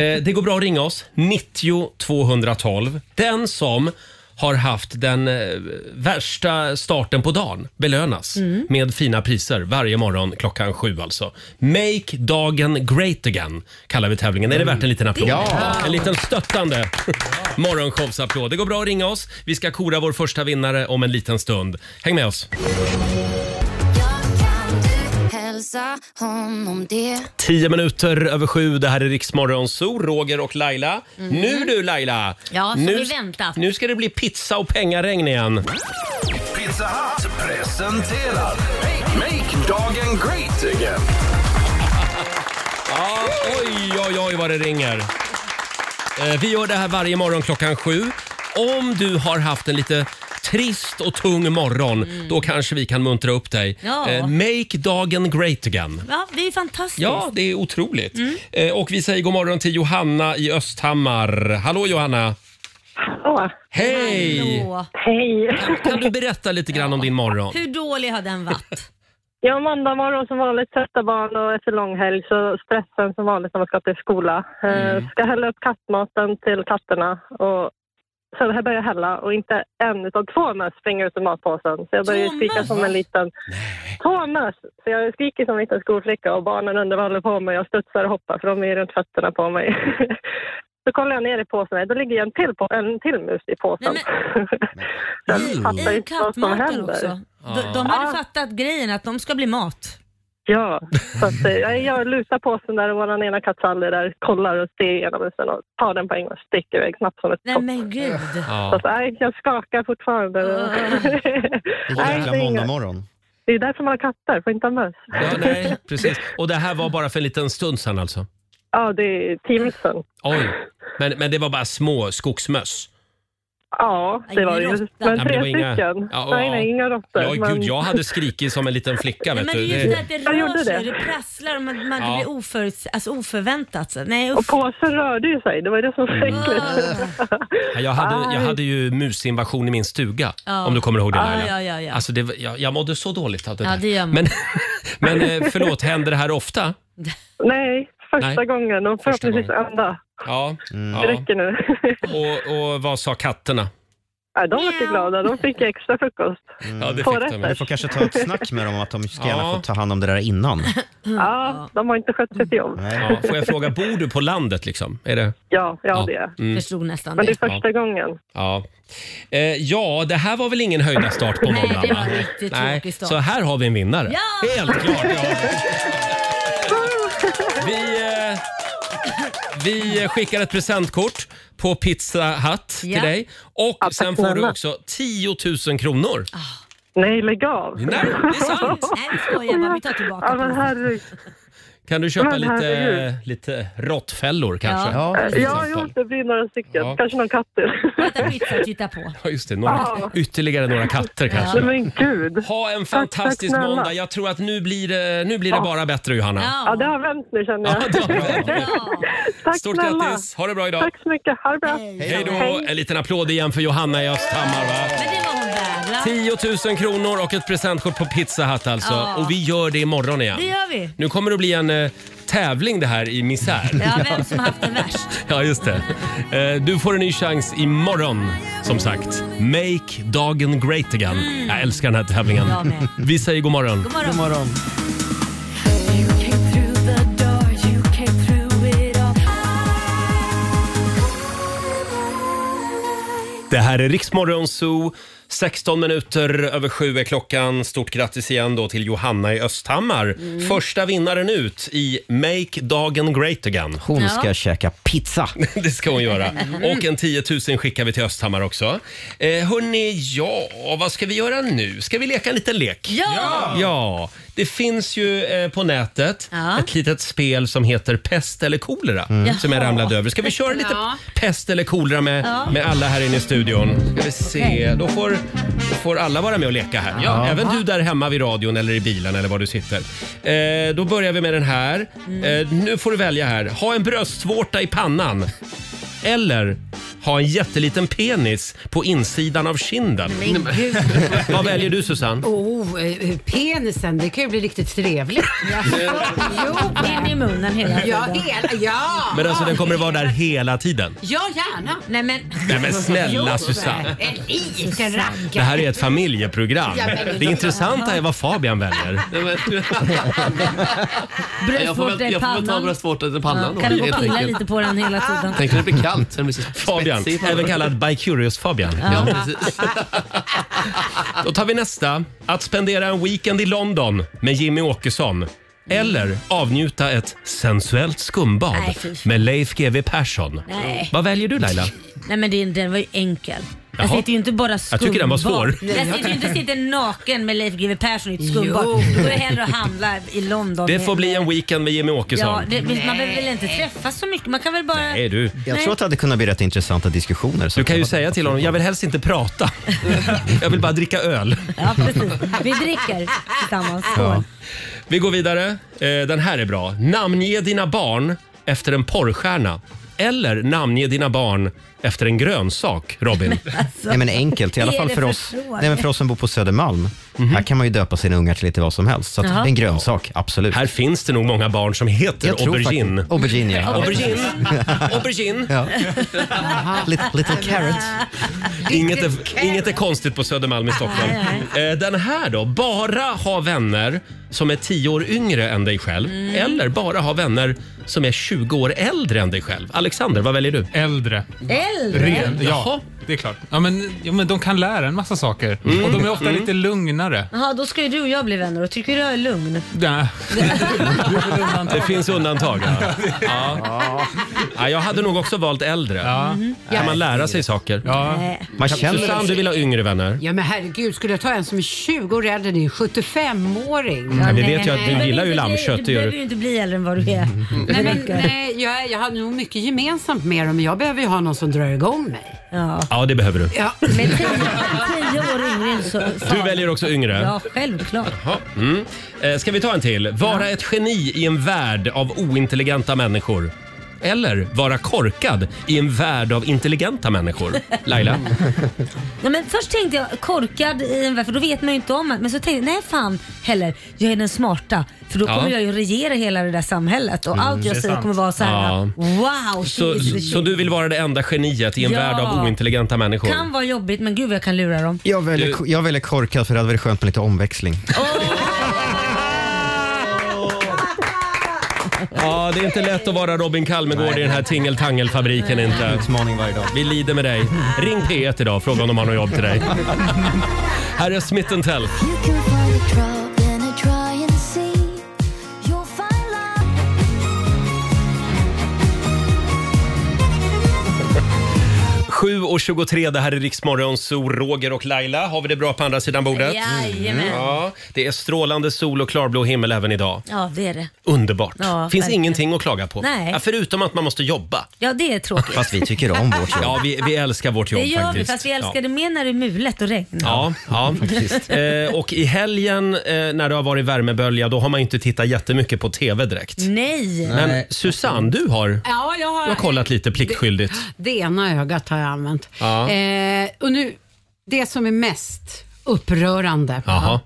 Eh, det går bra att ringa oss. 90 212. Den som har haft den eh, värsta starten på dagen belönas
Mm.
med fina priser varje morgon klockan sju alltså. Make dagen great again kallar vi tävlingen. Är det värt en liten applåd?
Ja.
En liten stöttande (laughs) morgonshowsapplåd. Det går bra att ringa oss. Vi ska kora vår första vinnare om en liten stund. Häng med oss.
Hälsa honom det.
Tio minuter över sju. Det här är Riksmorgon Zoo, Roger och Laila. Nu du Laila!
Mm. Ja, som
nu,
vi väntat.
Nu ska det bli pizza och pengaregn igen.
Pizza Hut presenterar Make dagen great again.
Ja, oj, oj, oj vad det ringer. Eh, Vi gör det här varje morgon klockan sju. Om du har haft en lite trist och tung morgon, då kanske vi kan muntra upp dig.
Mm. Ja.
Eh, Make dagen great again.
Ja, det är ju fantastiskt.
Ja, det är otroligt.
Mm.
Eh, Och vi säger god morgon till Johanna i Östhammar. Hallå Johanna!
Åh,
Hej!
Hallå.
hej.
Kan du berätta lite grann om din morgon?
Hur dålig har den varit?
Ja, måndag morgon som vanligt, trötta barn och efter lång helg så stressen som vanligt när man ska till skola. Eh,
Mm.
Ska hälla upp kattmaten till katterna och så här börjar jag hälla och inte en utan två möss springer ut ur matpåsen. Så jag börjar ju
Två
skrika
möss?
som en liten... Två möss! Så jag skriker som en liten skolflicka och barnen undrar vad jag håller på med. Jag studsar och hoppar för de är ju runt fötterna på mig. (laughs) Så kollar jag ner i påsen, Nej, då ligger en till, på, en till mus i påsen.
Nej,
jag fattar
I
inte vad som
kattmaten
händer.
också. De, de hade fattat grejen att de ska bli mat.
Ja, så att, eh, jag, jag lutar påsen där och vår ena katt Sally där kollar och ser igenom musen och tar den på en gång och sticker iväg snabbt som ett
Nej
skott.
men gud.
Så
Ja.
att, nej, jag skakar fortfarande.
Ah.
Vilken
nej, det,
jäkla
är inget.
måndagmorgon.
(laughs) det är därför man har katter, får inte ha möss.
Ja, nej, precis. Och det här var bara för en liten stund sedan alltså?
Ja, det är teamsen.
Oj. Men, men det var bara små skogsmöss?
Ja, det
Ingen
var
råtta.
ju.
Nej,
Men
men det
tre
var inga-
stycken.
Ja,
nej,
ja.
nej, inga råttor.
Ja,
men-
gud, jag hade skrikit som en liten flicka
Nej,
vet
men
du.
det är just det att det
Jag
rör
gjorde
sig,
det.
det prasslar och man, man,
Ja.
det blir oföruts- alltså, oförväntat. Så. Nej, usch.
Och påsen rörde ju sig, det var ju det som var
Mm.
så äckligt.
Ja, Jag hade, jag hade ju musinvasion i min stuga,
Ah. Ja.
om du kommer ihåg det
Ja,
Laila.
ja, ja, ja.
Alltså, det, var- jag, jag mådde så dåligt av det
Ja,
där.
det gör man.
Men, (laughs) men eh, förlåt, händer det här ofta?
Nej, första
Nej.
gången och
Första
förhoppningsvis
gången.
enda.
Ja.
Det
ja.
räcker nu. (laughs)
Och, och vad sa katterna?
Nej, de var inte glada, de fick extra frukost.
Ja, det
På
fick de.
rätten.
Vi får kanske ta ett snack med dem om att de ska gärna
Ja.
få ta hand om det där innan.
Ja, de har inte skött sitt jobb.
Nej.
Ja, får jag fråga, bor du på landet liksom? Är det...
Ja, ja,
Ja.
det är
förstod nästan
Men det
det.
är första gången.
Ja. Eh, ja, det här var väl ingen höjda start på
Nej,
måndagen?
det var
va?
en riktigt tråkig start.
Så här har vi en vinnare.
Ja!
Helt klart! Ja.
(laughs)
Vi, eh, vi skickar ett presentkort på Pizza Hut till
Ja.
dig. Och
Ja,
sen
tack
får du
snälla.
också 10 000 kronor.
Ah,
Nej, lägg av.
Nej, det är sant.
Nej, vi skojar bara. Vi tar tillbaka
Ja, men herregud.
Kan du köpa
Men herregud.
lite, lite råttfällor kanske?
Ja,
till
ja
exempel.
jo, det blir några stycken.
Ja.
Kanske någon katt
(laughs)
till.
Äta pizza och titta på.
Ja, just det. Några,
Ja.
Ytterligare några katter kanske.
Nej, Men gud.
Ha en
tack,
fantastisk
snälla.
måndag. Jag tror att nu blir det, nu blir det
Ja.
bara bättre Johanna.
Ja, det har vänt nu känner
Ja,
jag.
det var bra.
Tack
Stort
snälla.
grattis. Ha det bra idag.
Tack så mycket. Ha det bra.
Hej då. En liten applåd igen för Johanna i Östhammar. Va?
Men det var hon värd va?
10 000 kronor och ett presentkort på Pizza Hut alltså.
Ja.
Och vi gör det imorgon igen.
Det gör vi.
Nu kommer det bli en eh, tävling det här i misär.
Ja, vem som haft det värst.
Ja, just det. Eh, Du får en ny chans imorgon, som sagt. Make dagen great again. Jag älskar den här tävlingen.
Jag med.
Vi säger god morgon.
God morgon. God
morgon.
You came through the door, you came through it all.
Det här är Riksmorgon Zoo. 16 minuter över sju är klockan. Stort grattis igen då till Johanna i Östhammar. Första vinnaren ut i Make dagen great again. (laughs)
Hon ska käka pizza.
Det ska hon göra. Och en 10 000 skickar vi till Östhammar också. Eh, hörni, ja, vad ska vi göra nu? Ska vi leka en liten lek?
Ja! Ja!
Ja, det finns ju eh, på nätet
Ja.
ett litet spel som heter Pest eller kolera
Mm.
som jag
Jaha.
ramlade över. Ska vi köra lite
Ja.
pest eller kolera med,
Ja.
med alla här inne i studion? Ska vi se, då får, då får alla vara med och leka här. Ja,
Ja.
Även du där hemma vid radion eller i bilen eller var du sitter. Eh, då börjar vi med den här.
Mm.
Eh, nu får du välja här. Ha en bröstvårta i pannan. Eller ha en jätteliten penis på insidan av kinden.
Men gud.
Vad väljer du Susanne?
Oh, eh, penisen, det kan ju bli riktigt trevligt.
In i munnen hela tiden.
Ja, hela, ja.
Men alltså den kommer att vara där hela tiden.
Ja, gärna.
Nej men,
Nej, men snälla, Susanne.
En liten rackare.
Det här är ett familjeprogram.
Ja, men-
Det intressanta är vad Fabian väljer.
Jag får väl- jag får väl ta bröstvårtan i pannan då,
Kan du
helt
få pilla
enkelt.
lite på den hela tiden?
Tänk när det blir kallt. så det blir så
Fabian,
spetsigt.
även kallad By Curious Fabian.
Ja,
(laughs) Då tar vi nästa. Att spendera en weekend i London med Jimmy Åkesson. Eller avnjuta ett sensuellt skumbad
Nej, fy fan.
med Leif GW Persson.
Nej.
Vad väljer du Laila?
Nej men den, den var ju enkel. Jag
Jaha.
sitter ju inte bara
Jag tycker den var
skumbad.
svår.
Jag sitter ju inte sitta naken med Leif GW Persson i ett skumbad. Då går jag hellre och handlar i London.
Det får bli en weekend med Jimmy
Ja,
Åkesson.
det, man behöver väl inte träffas så mycket? Man kan väl bara...
Nej, du.
Jag tror att det hade kunnat bli rätt intressanta diskussioner. Så
Du kan ju säga till honom, jag vill helst inte prata. Jag vill bara dricka öl.
Ja, precis. Vi dricker tillsammans. Skål.
Vi går vidare. Eh, Den här är bra. Namnge dina barn efter en porrstjärna. Eller namnge dina barn efter en grönsak, Robin.
Nej men enkelt, i alla
Vad (laughs) är
fall
det
för
för
oss,
fråga?
nej, men för oss som bor på Södermalm.
Mhm.
Här kan man ju döpa sina ungar till lite vad som helst. Så att
Jaha.
en grönsak, absolut.
Här finns det nog många barn som heter aubergine.
Aubergine, ja.
Aubergine. Aubergine.
Ja. Little, little carrot.
Inget är, inget är konstigt på Södermalm i
Ah,
Stockholm. Eh, Den här då? Bara ha vänner som är 10 år yngre än dig själv.
Mm.
Eller bara ha vänner som är 20 år äldre än dig själv. Alexander, vad väljer du?
Äldre.
Äldre?
Ren,
Jaha.
ja, det är klart. Ja, men, ja, men de kan lära en massa saker.
Mm.
Och de är ofta lite lugnare.
Jaha, då ska ju du och jag bli vänner och tycker du jag är
Mm.
lugn.
(laughs) Nej.
Det finns undantag.
(laughs)
Ja. Ja. Ja, jag hade nog också valt äldre. Kan man lära sig saker?
Man
känner-
Susanne, du vill ha yngre vänner?
Ja men herregud, skulle jag ta en som är 20 år äldre? Det är en 75-åring.
Mm, Ja, vi nej. vet ju att du
Nej,
gillar ju
men-
lammkött, det
Du
gör Mm.
behöver ju inte bli äldre än vad du är.
Nej, men, nej Eh, jag, jag har nog mycket gemensamt med dem, men jag behöver ju ha någon som drar igång mig.
Ja.
Ja, det behöver du.
Ja.
Men tio, tio år yngre än så.
Du väljer också yngre?
Ja, självklart.
Jaha, Mm. Eh, Ska vi ta en till? Vara ett geni i en värld av ointelligenta människor. Eller vara korkad i en värld av intelligenta människor. Laila?
Ja, men först tänkte jag korkad i en värld, för då vet man ju inte om det. Men så tänkte jag, nej fan heller, jag är den smarta. För då
Ja. Mm,
kommer jag ju regera hela det där samhället och allt
det är
jag säger
sant.
kommer vara så här:
Ja.
wow, she
Så,
is the
så
shit."
du vill vara det enda geniet i en
Ja.
värld av ointelligenta människor?
kan vara jobbigt men gud vad jag kan lura dem.
Jag väljer, jag väljer korkad för det hade varit skönt med lite omväxling.
Ja, det är inte lätt att vara Robin Kalmegård i den här tingeltangelfabriken inte.
Utmaning varje dag.
Vi lider med dig. Ring P1 idag och fråga om de har något jobb till dig. Här är Smith Tell.
You can find a drop in a drying sea. You'll find love.
7.23, det här är Riksmorgon, så Roger och Laila. Har vi det bra på andra sidan bordet? Mm.
Jajamän.
Ja, det är strålande sol och klarblå himmel även idag.
Ja, det är det.
Underbart.
Ja,
Finns
verkligen.
ingenting att klaga på.
Nej.
Ja, förutom att man måste jobba.
Ja, det är tråkigt.
Ja, vi, vi älskar vårt jobb
Det gör
faktiskt.
vi, fast vi
Ja.
älskar det mer när det är mulet och regn.
Ja, ja.
(laughs)
Eh, och i helgen eh, när det har varit värmebölja då har man ju inte tittat jättemycket på TV direkt.
Mm. Nej.
Men Susanne, du har,
Ja, jag
du
har,
har kollat lite pliktskyldigt.
Det ena ögat har jag använt.
Ja.
Eh, och nu, det som är mest upprörande,
Jaha.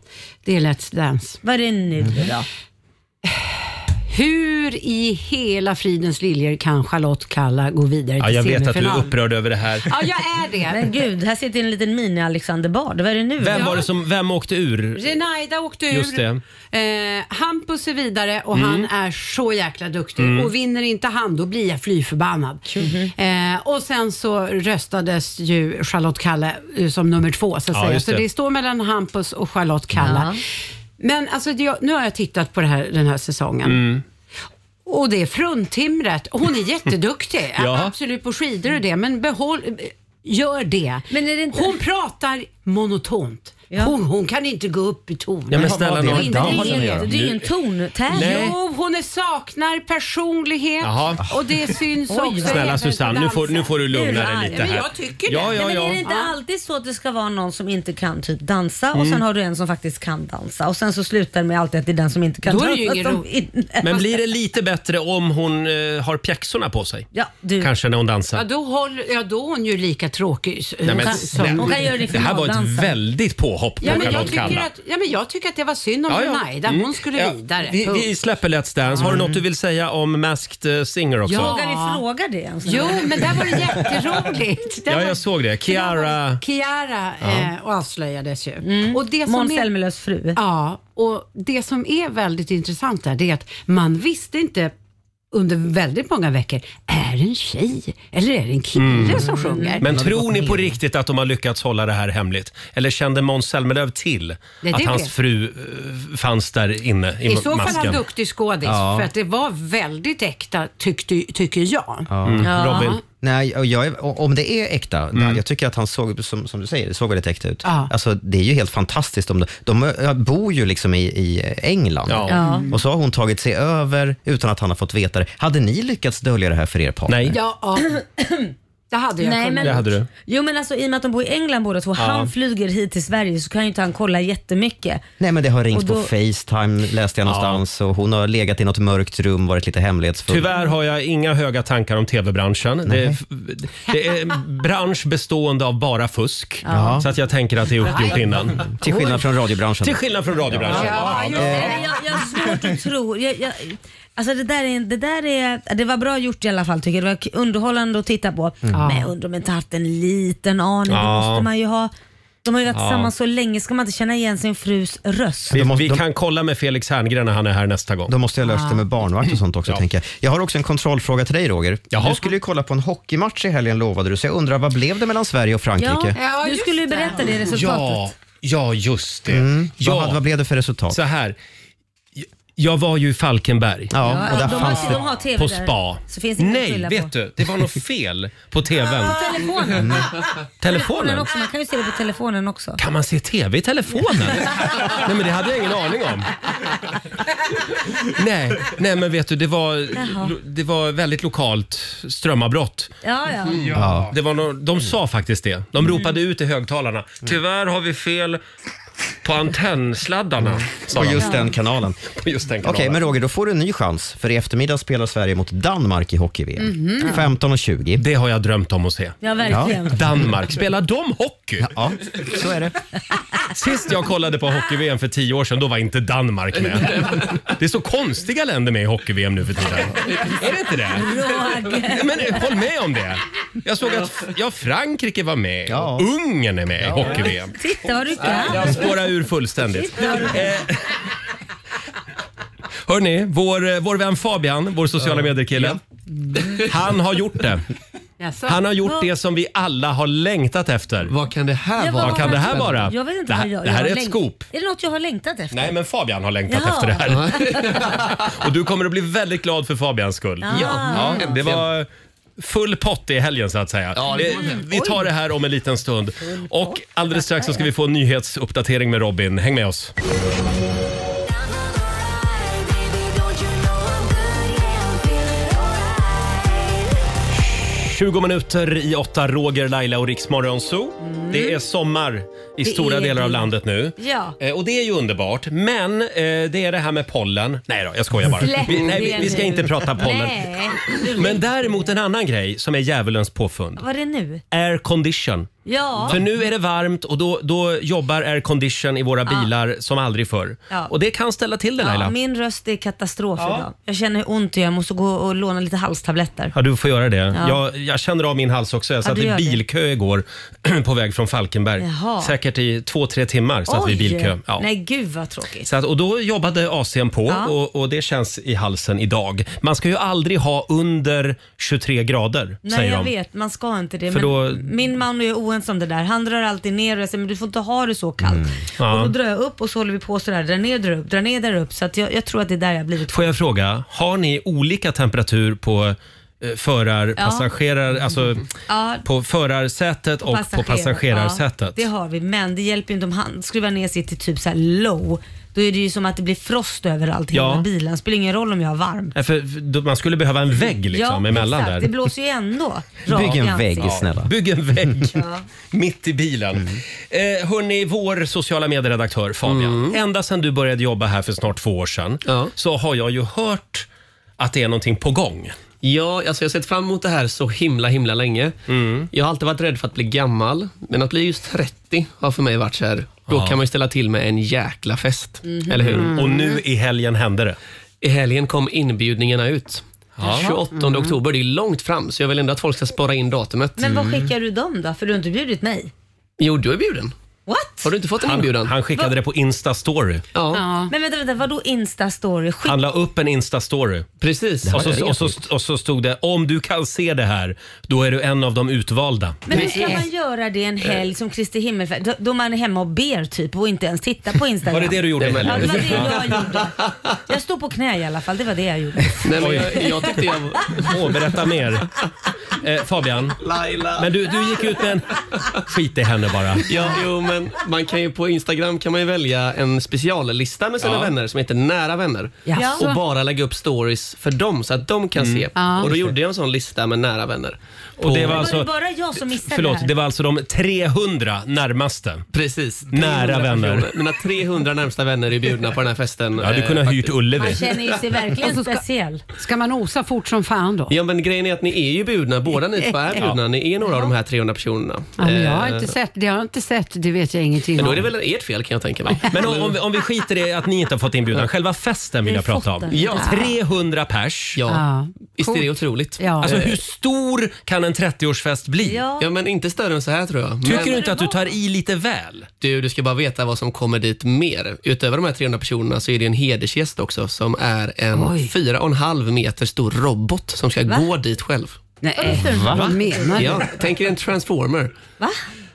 det är Let's Dance.
Vad är det nu
Mm.
då?
Hur i hela fridens liljor kan Charlotte Kalla gå vidare till
Ja, jag vet att du är
semifinal?
upprörd över det här.
Ja, jag är det.
Men gud, här sitter en liten mini-Alexander Bard. Vad är det nu?
Vem var det som, vem åkte ur?
Renaida åkte ur.
Just det.
Eh, Hampus är vidare och
Mm.
han är så jäkla duktig.
Mm.
Och vinner inte han, då blir jag fly förbannad. Eh, och sen så röstades ju Charlotte Kalle eh, som nummer två, så att
Ja,
säga.
just
Så
det.
det står mellan Hampus och Charlotte Kalle.
Ja.
Men alltså, det- jag, nu har jag tittat på det här, den här säsongen.
Mm.
Och det är fruntimret.
(laughs)
Och Hon är jätteduktig,
Ja.
absolut på skidor och det, men behåll, gör det. Hon pratar monotont. Hon, hon kan inte gå upp i ton.
Ja, men snälla nån.
det,
Dans har
är
ni
ingen-
gjort.
det är ingen
tontävling.
Nej.
Jo, hon är saknar personlighet
Jaha.
och det syns också.
Snälla
även
Susanne,
på
nu får, nu
dansen.
får du lugna
Urarg.
dig lite här.
Men jag tycker det.
Ja, ja,
Nej, men är det
ja.
inte alltid så att det ska vara någon som inte kan typ dansa och
Mm.
sen har du en som faktiskt kan dansa och sen så slutar det med alltid att det är den som inte kan
Då är
dansa
det ju ingen
som
ro-
vinner.
Men blir det lite bättre om hon eh, har pjäxorna på sig?
Ja, du.
Kanske när hon
Ja
dansar.
då, håll, ja, då är hon ju lika tråkig s-
Nej, men,
som-
snälla.
som-
det här var ett väldigt påhopp på
Ja, men jag,
Charlotte
tycker
Kalla.
att, ja, men jag tycker att det var synd om
Ja, ja.
Renaida.
Mm.
Hon skulle
Ja,
vidare.
Vi,
Punkt. Mm.
vi släpper Let's Dance. Har du något du vill säga om Masked eh, Singer också?
Vågar vi fråga det ens?
Jo, men där var det jätteroligt. Där
Ja,
var-
jag såg det. Kiara...
Kiara
Ja.
eh, avslöjades ju. Och det som
Måns
är-
Zelmerlöws fru.
Ja, och det som är väldigt intressant där det är att man visste inte under väldigt många veckor, är det en tjej eller är det en kille som sjunger?
Mm.
Mm.
Men tror ni på riktigt att de har lyckats hålla det här hemligt? Eller kände Måns Zelmerlöw till
det
att hans
vet.
fru eh, fanns där inne i,
I så fall
masken?
är han duktig skådis,
Ja.
för att det var väldigt äkta tyckte, tycker jag.
Mm.
Ja.
Nej, och jag, är- om det är äkta,
Mm.
jag tycker att han såg, som, som du säger, det såg väldigt äkta ut.
Ja.
Alltså, det är ju helt fantastiskt. Om de, de eh, bor ju liksom i, i England
Ja. Ja.
och så har hon tagit sig över utan att han har fått veta det. Hade ni lyckats dölja det här för er partner?
Nej.
Ja, ja. det hade jag
Nej,
kunnat.
men-
Det hade
du.
Jo men alltså i och med att de bor i England båda två,
Ja.
han flyger hit till Sverige så kan ju inte han kolla jättemycket.
Nej men det har ringts
Och då-
på Facetime läste jag någonstans och hon har legat i något mörkt rum, varit lite hemlighetsfull.
Tyvärr har jag inga höga tankar om tv-branschen. Det är, det är en bransch bestående av bara fusk.
Ja.
Så att jag tänker att det är uppgjort
Aj.
innan.
Till skillnad från radiobranschen.
Till skillnad från radiobranschen.
Ja, just det. Nej, Jag, jag har svårt att tro. Jag, jag, alltså det där, är, det där är, det var bra gjort i alla fall tycker jag. Det var k- underhållande att titta på.
Mm.
Men jag undrar om jag inte haft en liten aning. Det
Ja.
måste man ju ha. De har ju varit
Ja.
tillsammans så länge, ska man inte känna igen sin frus röst?
Vi, vi kan kolla med Felix Herngren när han är här nästa gång.
Då måste jag lösa det med barnvakt och sånt också. tänker jag. jag har också en kontrollfråga till dig Roger. Du skulle ju kolla på en hockeymatch i helgen lovade du, så jag undrar vad blev det mellan Sverige och Frankrike?
Ja, du skulle ju berätta det resultatet.
Ja, ja just det.
Mm.
Ja.
Vad, hade- vad blev det för resultat?
Så här. Jag- Jag var ju i Falkenberg.
Ja, och där de har- fanns det- de har TV
På
där.
spa.
Så finns det inget att
Nej,
skylla på.
vet du. Det var något fel på TVn.
På telefonen.
Mm.
telefonen
Telefonen?
också, man kan ju se det på telefonen också.
Kan man se TV i telefonen? nej, men det hade jag ingen aning om. nej, nej, men vet du, det var,
Jaha.
lo- det var väldigt lokalt strömavbrott.
Ja, ja.
Mm. Ja. Det var no
Mm.
de sa faktiskt det. De ropade ut i högtalarna. Tyvärr har vi fel på antennsladdarna. sa
Mm. På
de.
just den kanalen.
(laughs) På just den
Okej,
kanalen.
men Roger, då får du en ny chans. För i eftermiddag spelar Sverige mot Danmark i hockey-VM.
Mhm. Ja.
15 och 20.
Det har jag drömt om att se.
Ja, verkligen.
Danmark, spelar de hockey?
Ja, så är det.
Sist jag kollade på hockey-VM för tio år sedan, då var inte Danmark med. Det är så konstiga länder med i hockey-VM nu för tiden. Är det inte det?
Roger.
Men eh, håll med om det. Jag såg att ja, Frankrike var med. Ungern är med i hockey-VM.
Titta vad du
Jag
kan.
spårar ur fullständigt. Eh, Hörni, vår, eh, vår vän Fabian, vår sociala medier-kille, han har gjort det.
Jaså?
Han har gjort det som vi alla har längtat efter. Vad kan det här
Ja,
Vad kan det här vara?
Jag vet inte
det här,
vad jag,
det här
jag
är
har
ett
läng-
scoop.
Är det något jag har längtat efter?
Nej, men Fabian har längtat
Jaha.
efter det (laughs)
Ah,
här. Och du kommer att bli väldigt glad för Fabians skull.
Ja.
det var full pott i helgen så att säga. det, vi tar det här om en liten stund. Och alldeles strax så ska vi få en nyhetsuppdatering med Robin. Häng med oss.
Don't you know I'm good? Yeah, I'm feeling alright.
20 minuter i åtta, Roger, Laila och Riksmorgon Zoo. Det är sommar i
Mm. Det
stora
är
delar av
det.
landet nu.
Ja.
Eh, Och det är ju underbart. Men eh, det är det här med pollen. Nej då, jag skojar bara.
Släpp
Vi, nej, vi,
det
vi ska
nu.
inte prata pollen.
Nej. du-
Men däremot en annan grej som är djävulens påfund.
Vad är det nu?
Air condition.
Ja.
För nu är det varmt och då, då jobbar air condition i våra bilar som aldrig förr.
Ja.
Och det kan ställa till det Laila.
Ja, min röst är katastrof idag. Jag känner hur ont och jag måste gå och låna lite halstabletter.
Ja, du får göra det.
Ja.
Jag, jag känner av min hals också. Jag satt
du
i
gör det.
bilkö igår (clears throat) på väg från Falkenberg.
Jaha.
Säkert i två, tre timmar satt vi i bilkö. Ja.
Nej, gud vad tråkigt.
Så att, och då jobbade AC'n på
Ja.
och, och det känns i halsen idag. Man ska ju aldrig ha under 23 grader,
Nej,
säger
jag
de.
vet. Man ska inte det.
För
Men
då-
Min man är ju oense om det där. Han drar alltid ner och jag säger, men du får inte ha det så kallt.
Mm. Ja.
Och då drar jag upp och så håller vi på sådär. Drar ner, drar upp, drar ner, drar upp. Så att jag, jag tror att det är där jag har blivit
Får jag fråga, har ni olika temperatur på eh, förarpassagerare, alltså
Ja.
på förarsätet och på
passagerar-
passagerarsätet?
Ja, det har vi, men det hjälper ju inte om han skruvar ner sig till typ så här low. Då är det ju som att det blir frost överallt i
Ja.
hela bilen. Det spelar ingen roll om jag är varm.
Nej, för då- man skulle behöva en vägg liksom emellan
exakt.
där.
Det blåser
(laughs)
ju ändå. rakt
Bygg
i
en
ansiktet.
vägg snälla.
Bygg en vägg
(laughs) Ja.
mitt i bilen.
Mm.
Eh, hörni, vår sociala medieredaktör Fabian. Ända sedan du började jobba här för snart två år sedan
Mm. Ja.
så har jag ju hört att det är någonting på gång.
Ja, alltså jag har sett fram emot det här så himla himla länge.
Mm.
Jag har alltid varit rädd för att bli gammal, men att bli just 30 har för mig varit så här. Då kan man ju ställa till med en jäkla fest,
Mhm.
eller hur?
Och
Mm.
nu i helgen hände det.
I helgen kom inbjudningarna ut.
Mm.
28 oktober, det är långt fram, så jag vill ändå att folk ska spara in datumet.
Men vad
Mm.
skickar du dem då? För du har inte bjudit mig.
Jo, du är bjuden.
What?
Har du inte fått en
Han,
inbjudan?
han skickade det på Insta-story.
ja,
Ja.
Men vänta, vänta vadå Insta-story? Skick...
Han la upp en Insta-story.
precis.
Och så, och, så, och så stod det om du kan se det här, då är du en av de utvalda.
Men hur ska man göra det en helg som Kristi himmelfärd? Då, då man är hemma och ber typ och inte ens tittar på Instagram.
Var det det du gjorde?
Det var
Ja,
Helen?
det var det jag gjorde. Jag stod på knä i alla fall. Det var det jag gjorde.
Nej, men jag, jag tyckte jag var...
Åh, berätta mer. Eh, Fabian,
Laila.
men du, du gick ut med en... Skit i henne bara.
Ja, jo, men man kan ju på Instagram kan man ju välja en speciallista med sina vänner som heter Nära vänner.
Jaså?
Och bara lägga upp stories för dem så att de kan se.
Ja.
Och då gjorde jag en sån lista med nära vänner.
Mm. Och det var
Var
alltså...
det bara jag som missade
Förlåt,
det här?
det var alltså de 300 närmaste.
Precis.
Nära
300
vänner.
personer. Mina 300 närmsta vänner är bjudna på den här festen.
Jag hade
eh,
kunnat
faktiskt.
hyrt Ullevi.
Man känner ju sig verkligen speciell.
Ska man osa fort som fan då?
Ja men grejen är att ni är ju bjudna,
(laughs)
båda ni två är bjudna. Ni är några av de här 300 personerna.
Ja, men jag har
Eh,
inte sett, det har jag inte sett, det vet jag ingenting
Men då är
om.
det väl ert fel kan jag
(laughs)
tänka mig.
Men om, om, vi- om vi skiter i att ni inte har fått inbjudan, själva festen vill
Vi
jag prata om.
fått den.
Ja. 300 pers.
Ja,
Ja.
visst är det otroligt.
Ja. Eh,
Alltså hur stor kan en 30-årsfest bli?
Ja.
Ja men inte större än så här tror jag.
Tycker
men...
du inte att du tar i lite väl?
Du, du ska bara veta vad som kommer dit mer. Utöver de här 300 personerna så är det en hedersgäst också som är en
Oj.
4,5 meter stor robot som ska gå dit själv. Mm.
Nej, vad menar du?
Ja, tänk er en transformer.
Va?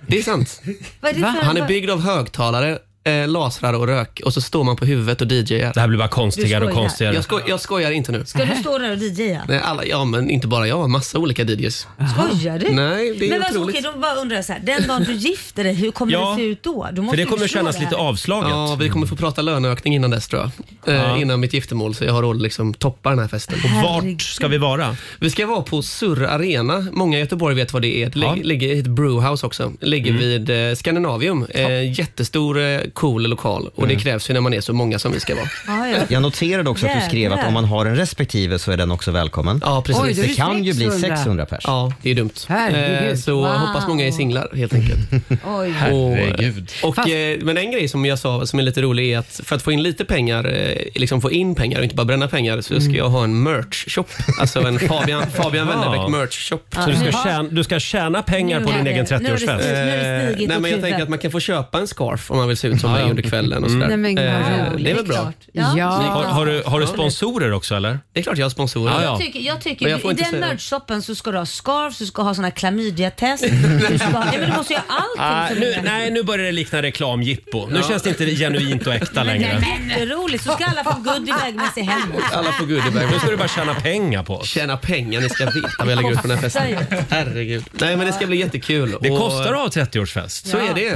Det är sant.
Vad är det för
Han är byggd av högtalare, eh, lasrar och rök och så står man på huvudet och DJar.
Det här blir bara konstigare
Du
och
skojar.
konstigare.
Jag, sko- jag skojar inte nu.
Ska du stå där och DJa?
Nej, alla, ja, men inte bara jag. Massa olika DJs.
Skojar du?
Nej, det är
Men alltså, vad-
otroligt.
Okej, då bara undrar jag så här. Den dagen du gifter dig, hur kommer
Ja.
det se ut då? Du måste
För det
ju
kommer
förstå
kännas
det här.
lite avslaget.
Ja, vi kommer få prata löneökning innan dess tror jag. Eh, Innan mitt giftermål så jag har råd att liksom toppa den här festen.
Och
Herregud.
vart ska vi vara?
Vi ska vara på Surr Arena. Många i Göteborg vet vad det är. Det
Ja. Mm.
lig- ligger i ett brewhouse också. Det ligger vid eh, Scandinavium. Eh, jättestor, eh, cool lokal. Och
Mm.
det krävs ju när man är så många som vi ska vara.
Ja, ja.
Jag noterade också att du skrev att om man har en respektive så är den också välkommen.
Ja, precis.
Oj,
Det
du-
kan ju bli
600.
600 pers.
Ja, det är dumt.
Herregud.
Eh, så
Wow.
hoppas många är singlar helt enkelt.
Oj.
Herregud.
Och,
Fast-
eh, men en grej som jag sa som är lite rolig är att för att få in lite pengar, eh, liksom få in pengar och inte bara bränna pengar, så ska jag ha en merch-shop. Alltså en Fabian, Fabian
Ja.
Wennerbäck merch-shop.
Så du ska, tjäna, du ska tjäna pengar
Nu
på
är
din
det-
egen
nu är det
30-årsfest?
slut. Nu är det stigit
Eh, Nej,
åt
men jag tänker
huvudet.
att man kan få köpa en scarf om man vill se ut som mig under kvällen och sådär.
Nej, men vad
Eh,
roligt.
det är väl bra.
Klart. Ja.
Ja.
Mm. Har, har, du, har du sponsorer också eller?
Det är klart jag har sponsorer.
Ja, ja.
Jag tycker, jag tycker
Men jag får
i
inte
den
säga det.
nördshoppen så ska du ha scarf, du ska ha såna klamydiatest. du ska ha, nej men du måste göra
Ah,
allting. som
nu,
du-
nej, nu börjar det likna reklamjippo. Nu känns det inte genuint och äkta
Men det
längre.
är jätteroligt. Så ska alla få good iväg med sig hem.
Alla får goodiebag.
Nu ska du bara tjäna pengar på oss.
Tjäna pengar, ni ska veta vad jag lägger ut på den här
(laughs)
festen. Herregud. Nej men det ska bli jättekul.
Det
Och-
kostar Mm. att ha 30-årsfest.
Så är det.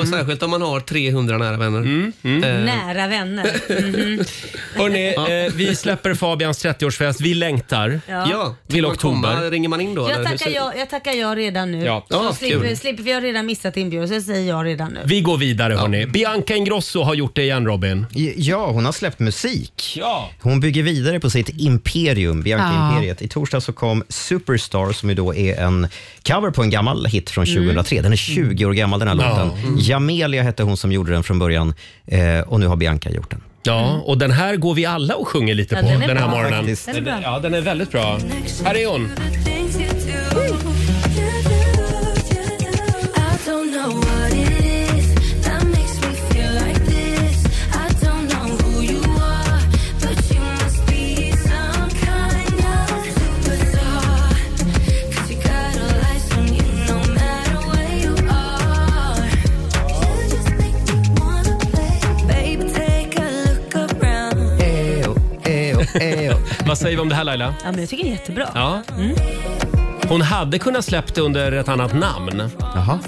Och särskilt om man har 300 nära vänner.
Mm.
Eh.
Nära vänner.
Hörrni, eh, vi släpper Fabians 30-årsfest. Vi längtar.
Ja, vill man
oktober.
Komma, ringer man in då?
Jag
eller hur
tackar
ser-
ja, jag tackar ja redan nu.
Ja.
Ja,
Så slipper,
kul.
slipper, vi har redan missat inbjudan, så jag säger ja redan nu.
Vi går vidare hörni. Bianca Ingrosso har gjort det igen Robin.
Ja, hon har släppt musik.
Ja.
Hon bygger vidare på sitt imperium,
Ja.
Bianca-imperiet. I torsdag så kom Superstar, som ju då är en cover på en gammal hit från 2003. Den är 20 år gammal den här låten.
Mm.
Jamelia hette hon som gjorde den från början eh, och nu har Bianca gjort den.
Ja, och den här går vi alla och sjunger lite
Mm. Ja,
på
den är
den här
bra.
morgonen.
Faktiskt.
Den är bra.
Ja, den är väldigt bra. Här är hon.
Ejo, ejo, ejo.
Vad säger vi om det här Laila?
Ja, men jag tycker det är jättebra.
Ja.
Mm.
Hon hade kunnat släppt det under ett annat namn.
Jaha.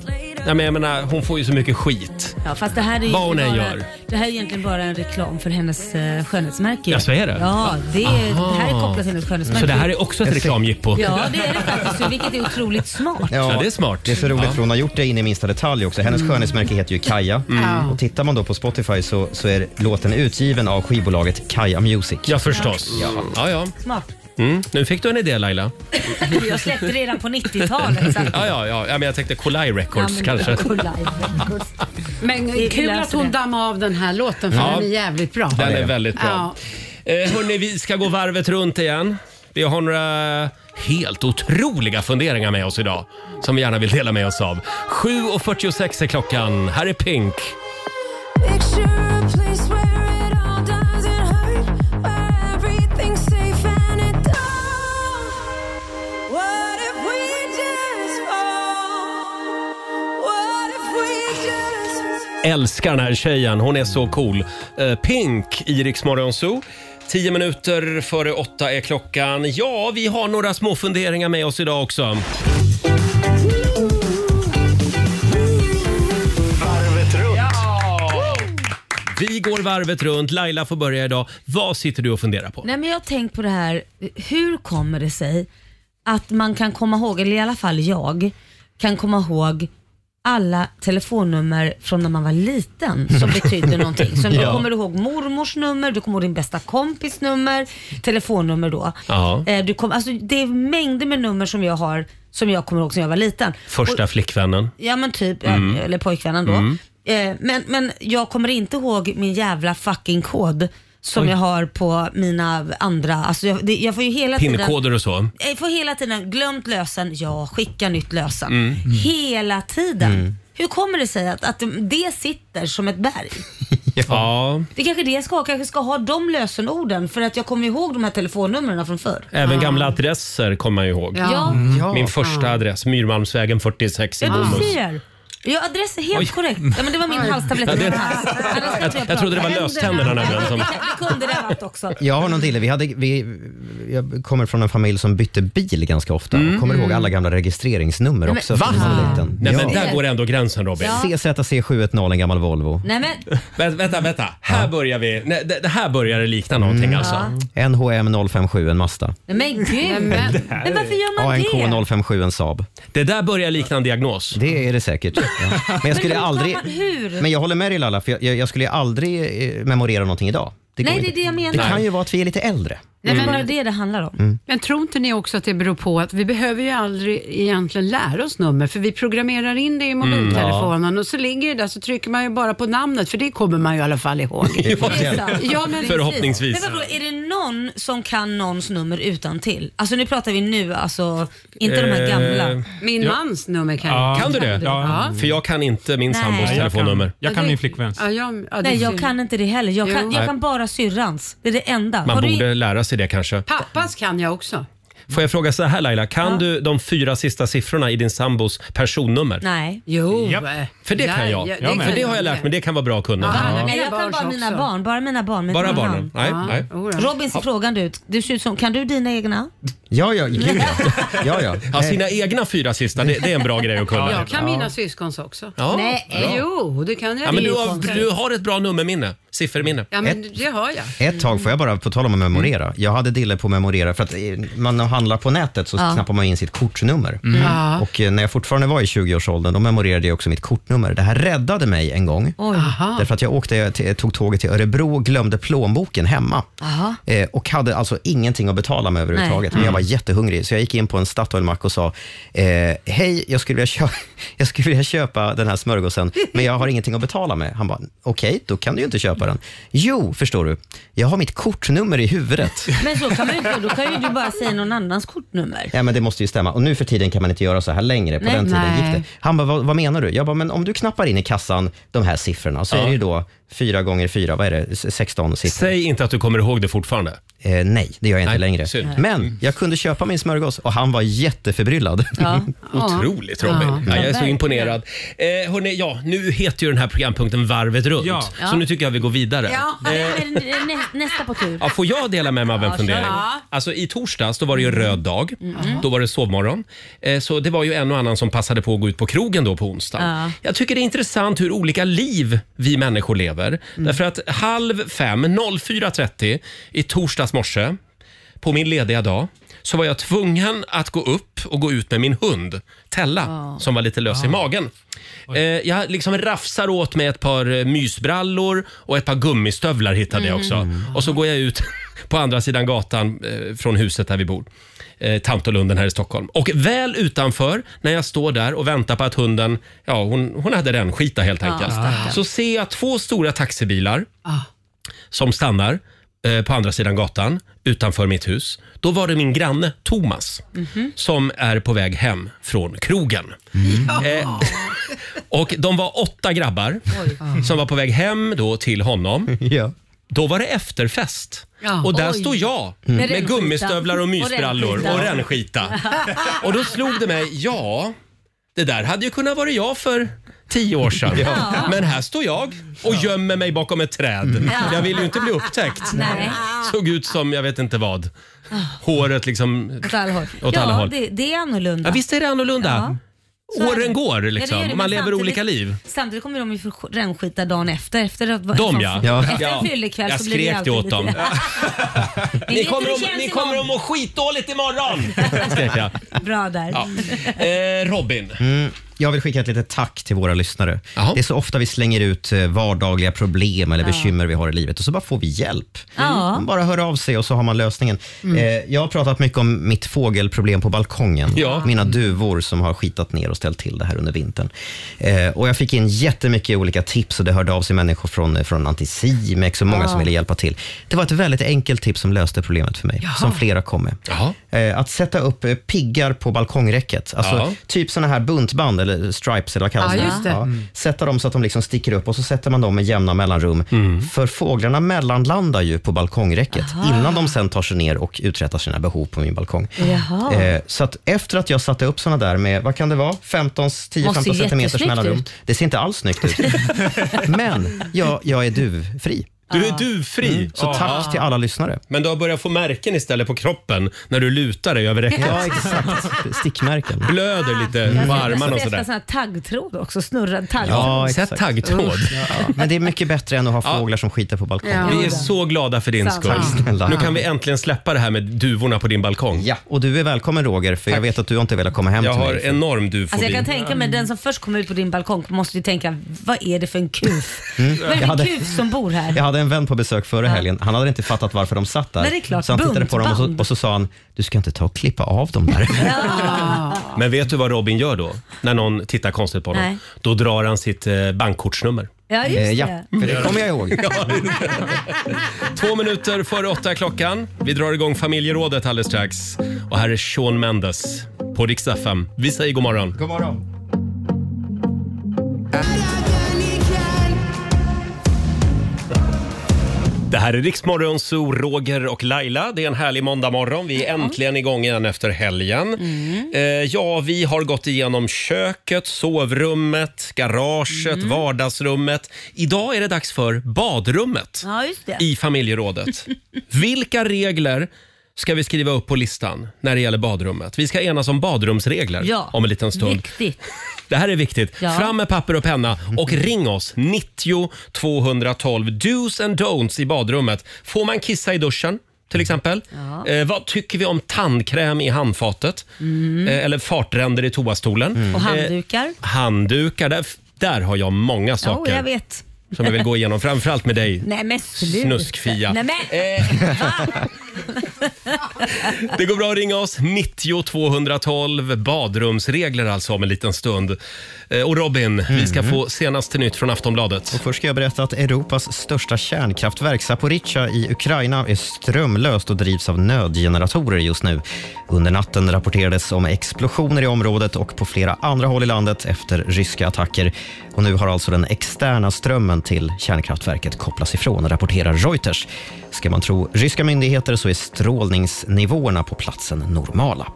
Ja, men jag menar, hon får ju så mycket skit.
Ja, fast det här är ju
Vad hon än
bara,
gör.
Det här är egentligen bara en reklam för hennes eh, skönhetsmärke.
Ja, så är det?
Ja, det,
Aha.
det här är kopplat till hennes skönhetsmärke.
Så det här är också ett reklamjippo.
Ja, det är det faktiskt, vilket är otroligt smart.
Ja, Mm. det är smart.
Det är så roligt för hon har gjort det in i minsta detalj också. Hennes skönhetsmärke heter ju Kaja.
Mm.
Och tittar man då på Spotify så, så är låten utgiven av skivbolaget Kaja Music.
Ja, förstås. Ja. Ja,
smart.
Mm. Nu fick du en idé Laila.
Jag släppte det redan på 90-talet. så att-
Ja, ja, ja. ja men jag tänkte Kolaj
Ja,
Records
men-
kanske.
Men
vi
kul att
löser
hon
det.
dammade av den här låten för
Ja.
den är jävligt bra.
Den är väldigt bra.
Ja.
Eh, hörni, vi ska gå varvet runt igen. Vi har några helt otroliga funderingar med oss idag som vi gärna vill dela med oss av. 7.46 är klockan. Här är Pink. Älskar den här tjejen. Hon är så cool. Eh, Pink i Rix Morgon Zoo. Tio minuter före åtta är klockan. Ja, vi har några små funderingar med oss idag också. Vi går varvet runt. Laila får börja idag. Vad sitter du och funderar på?
Nej, men jag har tänkt på det här, hur kommer det sig att man kan komma ihåg, eller i alla fall jag, kan komma ihåg alla telefonnummer från när man var liten
(laughs)
som betydde någonting. Som Du kommer ihåg mormors nummer, du kommer ihåg din bästa kompis nummer, telefonnummer då.
Ja.
Eh, Du kom, alltså, det är mängder med nummer som jag har som jag kommer ihåg som jag var liten.
Första flickvännen.
Ja men typ, eh, eller pojkvännen då. Eh, Men, men jag kommer inte ihåg min jävla fucking kod som jag har på mina andra, alltså jag, det, jag får ju hela tiden
Pinnkoder och så.
jag får hela tiden glömt lösen, ja skicka nytt lösen. Hela tiden. Hur kommer det sig att, att det sitter som ett berg?
Ja,
Det är kanske det jag ska ha, kanske ska ha de lösenorden för att jag kommer ihåg de här telefonnumren från förr.
även gamla adresser kommer man ju ihåg.
Ja.
Ja,
Ja.
Min första adress, Myrmalmsvägen 46 i
ja du
Bomhus.
ser. Ja, adress är helt korrekt. Ja, men det var min halstablett i min hals. Annars kan inte
Jag trodde det var
prata.
löständerna nämligen.
(laughs)
Som...
Det kunde det ha varit också.
Jag har någon till. Vi hade, vi, jag kommer från en familj som bytte bil ganska ofta och kommer ihåg alla gamla registreringsnummer också.
va?
från när man var liten.
Nej men
Ja.
där går ändå gränsen Robin.
Ja.
CZC710, en gammal Volvo.
Nej men,
Vä- vänta, vänta. Här börjar vi. Nej, det, det här börjar det likna någonting alltså.
NHM 057, en Mazda.
nej men gud.
Men,
Men varför gör man det?
ANK 057, en Saab.
Det där börjar likna en diagnos.
Det är det säkert. Ja. Men jag skulle
hur
aldrig...
kan man- hur?
Men jag håller med dig Lalla, för jag, jag, jag skulle aldrig eh, memorera någonting idag. går
Nej, det
inte.
är det jag menar.
Det kan ju vara att vi är lite äldre.
Nej, men bara det är det handlar om.
Men tror inte ni också att det beror på att vi behöver ju aldrig egentligen lära oss nummer för vi programmerar in det i
Mm,
mobiltelefonen och så ligger det där så trycker man ju bara på namnet för det kommer man ju i alla fall
(laughs)
ihåg.
Det är sant.
ja, men
Förhoppningsvis.
Men vadå, är det någon som kan någons nummer utan till? Alltså nu pratar vi nu, alltså inte de här gamla.
Eh,
Min mans nummer kan
Ja.
jag.
Kan du det?
Ja.
För jag kan inte min
Nej.
sambos
Nej, jag
telefonnummer.
Jag kan min flickväns.
Ja, jag, ja, det är
Nej, jag
synd.
kan inte det heller. Jag kan,
Jo.
jag kan bara syrrans. Det är det enda.
Man
Har du-
borde lära sig det kanske.
Pappas kan jag också.
Får jag fråga så här Laila, kan du de fyra sista siffrorna i din sambos personnummer?
Nej.
Jo. eh,
Japp.
För det kan jag.
Ja,
Jag med.
För det har jag lärt mig, det kan vara bra att kunna.
Ja.
Ja.
Nej, jag kan
barns
bara mina
också.
barn. Bara mina barn. men
Bara
inte han.
barnen? Nej,
Ja,
nej.
jodå.
Robin ser frågande ut. Du ser ut som, kan du dina egna?
Ja, ja, gud ja. ja, ja.
Ja, Alltså, sina egna fyra sista, det, det är en bra grej att kunna.
Jag kan mina syskons också.
Ja,
Nej.
bra.
Jo, det kan jag.
Ja, men du,
Det är
har,
konstigt.
du har ett bra nummerminne, sifferminne.
Ja, men det har jag.
Ett tag, får jag bara, på tal om att memorera. Jag hade dille på att memorera, för att eh, man handlar på nätet så knappar man in sitt kortnummer.
Ja.
Och eh, när jag fortfarande var i 20-årsåldern, då memorerade jag också mitt kortnummer. Det här räddade mig en gång.
Aha.
Därför att jag åkte, jag t- tog tåget till Örebro och glömde plånboken hemma.
Aha.
Eh, och hade alltså ingenting att betala med överhuvudtaget. Men jag var jättehungrig, så jag gick in på en Statoilmack och sa, eh, hej, jag skulle, vilja köpa, (laughs) jag skulle vilja köpa den här smörgåsen, men jag har ingenting att betala med. Han bara, okej, då kan du ju inte köpa den. Jo, förstår du, jag har mitt kortnummer i huvudet.
Men så kan man ju inte. Då kan ju du bara säga någon annans kortnummer.
Ja, men det måste ju stämma. Och nu för tiden kan man inte göra så här längre. På
Nej,
den tiden
nej.
gick det. Han bara, vad, vad menar du? Jag bara, men om du knappar in i kassan de här siffrorna så är det ju då fyra gånger fyra, vad är det, S- 16 siffror?
Säg inte att du kommer ihåg det fortfarande.
Eh, nej, det gör jag inte
Nej,
längre.
synd.
Men jag kunde köpa min smörgås och han var jätteförbryllad.
Ja.
Otroligt Robin.
Ja.
Ja, jag är så
verkligen.
imponerad. Eh, hörni, ja, nu heter ju den här programpunkten Varvet runt.
Ja.
Så nu tycker jag vi går vidare.
Ja.
Men, eh, nä, nästa på tur.
Ja, får jag dela med mig av en
Ja, Mm.
fundering?
kör.
Ja.
Alltså, I torsdags då var det ju röd dag. Då var det sovmorgon. Eh, så det var ju en och annan som passade på att gå ut på krogen då på onsdag.
Ja.
Jag tycker det är intressant hur olika liv vi människor lever.
Mm.
Därför att halv fem, 04.30 i torsdags morse på min lediga dag så var jag tvungen att gå upp och gå ut med min hund Tella som var lite lös i magen. Eh, jag liksom rafsar åt mig ett par eh, mysbrallor och ett par gummistövlar hittade jag också. Och så går jag ut (laughs) på andra sidan gatan eh, från huset där vi bor. Eh, Tantolunden här i Stockholm. Och väl utanför, när jag står där och väntar på att hunden, ja hon, hon hade den skita helt enkelt. så ser jag två stora taxibilar som stannar eh, på andra sidan gatan utanför mitt hus. Då var det min granne Thomas som är på väg hem från krogen. Eh, och de var åtta grabbar som var på väg hem då till honom.
(laughs) ja.
Då var det efterfest.
Ja.
och där
Oj. Mm.
står jag
Med
med
rännskita.
gummistövlar och mysbrallor
Och rännskita.
och rännskita.
(laughs)
Och då slog det mig, ja, det där hade ju kunnat vara jag för tio år sedan. Men här står jag och gömmer mig bakom ett träd. Jag vill ju inte bli upptäckt.
Mm. Nej.
Såg ut som jag vet inte vad. Håret liksom...
Åt alla håll.
Åt
ja,
alla håll.
Det, det är annorlunda.
Ja, visst är det annorlunda?
Så är det.
Åren går
Ja, det gör
liksom.
det,
Man
men
lever
samtidigt-
olika liv.
Samtidigt kommer de ju få rännskita dagen efter. efter att,
De ja.
Efter en fyllekväll
Jag
så blir det
skrek det
alltid
åt
lite-
dem. Ni
Ni
kommer, om, ni kommer att må skitdåligt imorgon! Skrek jag.
Bra där.
Ja. Eh, Robin.
Jag vill skicka ett litet tack till våra lyssnare.
Jaha.
Det är så ofta vi slänger ut eh, vardagliga problem eller bekymmer vi har i livet och så bara får vi hjälp. Mm.
Ja.
Man bara hör av sig och så har man lösningen. Eh, jag har pratat mycket om mitt fågelproblem på balkongen.
Ja.
Mina duvor som har skitat ner och ställt till det här under vintern. Eh, och jag fick in jättemycket olika tips och det hörde av sig människor från, eh, från Anticimex och många som ville hjälpa till. Det var ett väldigt enkelt tips som löste problemet för mig, som flera kom med.
Jaha.
Eh, Att sätta upp eh, piggar på balkongräcket. Alltså
Ja.
typ såna här buntband eller stripes eller vad kallas
Ja, just det.
Mm.
Sätta dem så att de liksom sticker upp och så sätter man dem med jämna mellanrum. För fåglarna mellanlandar ju på balkongräcket innan de sen tar sig ner och uträttar sina behov på min balkong.
Jaha.
Eh, Så att efter att jag satte upp såna där med, vad kan det vara, 15, 10-15
Måste
centimeters
jättesnyggt
mellanrum.
ut.
Det ser inte alls snyggt
(laughs)
ut. Men jag, jag är duvfri.
Du är duvfri.
Så tack till alla lyssnare.
Mm. Men du har börjat få märken istället på kroppen när du lutar dig över räcket.
(laughs) Ja, exakt. Stickmärken.
Blöder lite på armarna och
Jag ska testa
sådär.
sån här taggtråd också, snurrad taggtråd.
Ja,
Sätt
exakt.
taggtråd.
Men det är mycket bättre än att ha fåglar som skiter på balkongen.
Ja.
Vi är så glada för din
Sant.
skull.
Sant.
Snälla.
Nu kan vi äntligen släppa det här med duvorna på din balkong.
Ja, och du är välkommen Roger, för jag vet att du har inte velat komma hem
Jag
till
har
mig.
enorm
Alltså jag
dufobi.
kan tänka mig den som först kommer ut på din balkong måste ju tänka, vad är det för en kuf? Vad är det för
Mm.
Jag
en
hade-
kuf som bor här?
Jag hade hade en vän på besök före helgen. Han hade inte fattat varför de satt där.
Nej, det är klart.
Så han tittade på dem och så,
Buntband.
och så sa han, du ska inte ta och klippa av dem där.
Men vet du vad Robin gör då? När någon tittar konstigt på honom.
Nej.
Då drar han sitt eh, bankkortsnummer.
Ja, just
Eh, (laughs)
det.
ja, för det kommer jag ihåg.
Två minuter före åtta är klockan. Vi drar igång familjerådet alldeles strax. Och här är Sean Mendes på Rix FM. Vi säger god morgon.
God morgon.
Det här är Riksmorgon, Zoo, Roger och Laila. Det är en härlig måndagmorgon. Vi är äntligen igång igen efter helgen. Eh, ja, vi har gått igenom köket, sovrummet, garaget, vardagsrummet. Idag är det dags för badrummet
Ja, just det.
i
(laughs)
familjerådet. Vilka regler ska vi skriva upp på listan när det gäller badrummet? Vi ska enas om badrumsregler
Ja.
om en liten stund.
Viktigt.
Det här är viktigt.
Ja. Mm.
Fram med papper och penna och ring oss. 90 212. Do's and don'ts i badrummet. Får man kissa i duschen?
Mm.
Till exempel. Eh, vad tycker vi om tandkräm i handfatet?
Mm.
Eh, eller fartränder i toastolen?
Och
Eh,
handdukar.
handdukar. Där, där har jag många
Ja,
saker
jag vet.
som jag vill gå igenom. Framförallt med dig,
Nej men sluta.
Snuskfia. Eh.
Nej, men.
Det går bra att ringa oss. 90 212. Badrumsregler alltså om en liten stund. Eh, Och Robin, vi ska få senaste nytt från Aftonbladet.
Först ska jag berätta att Europas största kärnkraftverk Zaporizjzja i Ukraina är strömlöst och drivs av nödgeneratorer just nu. Under natten rapporterades om explosioner i området och på flera andra håll i landet efter ryska attacker. Och nu har alltså den externa strömmen till kärnkraftverket kopplats ifrån, rapporterar Reuters. Ska man tro ryska myndigheter så är strålningsnivåerna på platsen normala.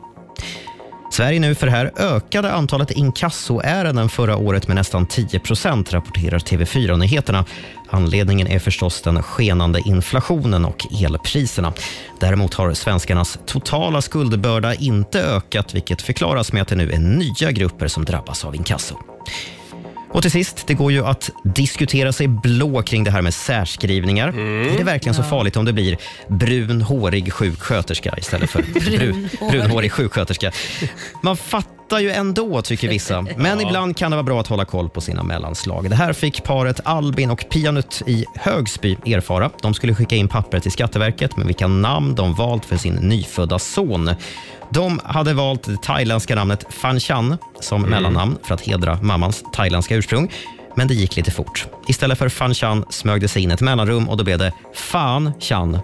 Sverige nu, för här ökade antalet inkassoärenden förra året med nästan 10 procent, rapporterar TV4 Nyheterna. Anledningen är förstås den skenande inflationen och elpriserna. Däremot har svenskarnas totala skuldbörda inte ökat, vilket förklaras med att det nu är nya grupper som drabbas av inkasso. Och till sist, det går ju att diskutera sig blå kring det här med särskrivningar. Är det verkligen så farligt om det blir brun, hårig sjuksköterska istället för brun, brunhårig sjuksköterska? Man fattar ju ändå, tycker vissa. Men ibland kan det vara bra att hålla koll på sina mellanslag. Det här fick paret Albin och Pianut i Högsby erfara. De skulle skicka in papper till Skatteverket med vilka namn de valt för sin nyfödda son. De hade valt det thailändska namnet Fan Chan som mellannamn för att hedra mammans thailändska ursprung. Men det gick lite fort. Istället för Fan Chan smög det sig in ett mellanrum och då blev det Fan Chan.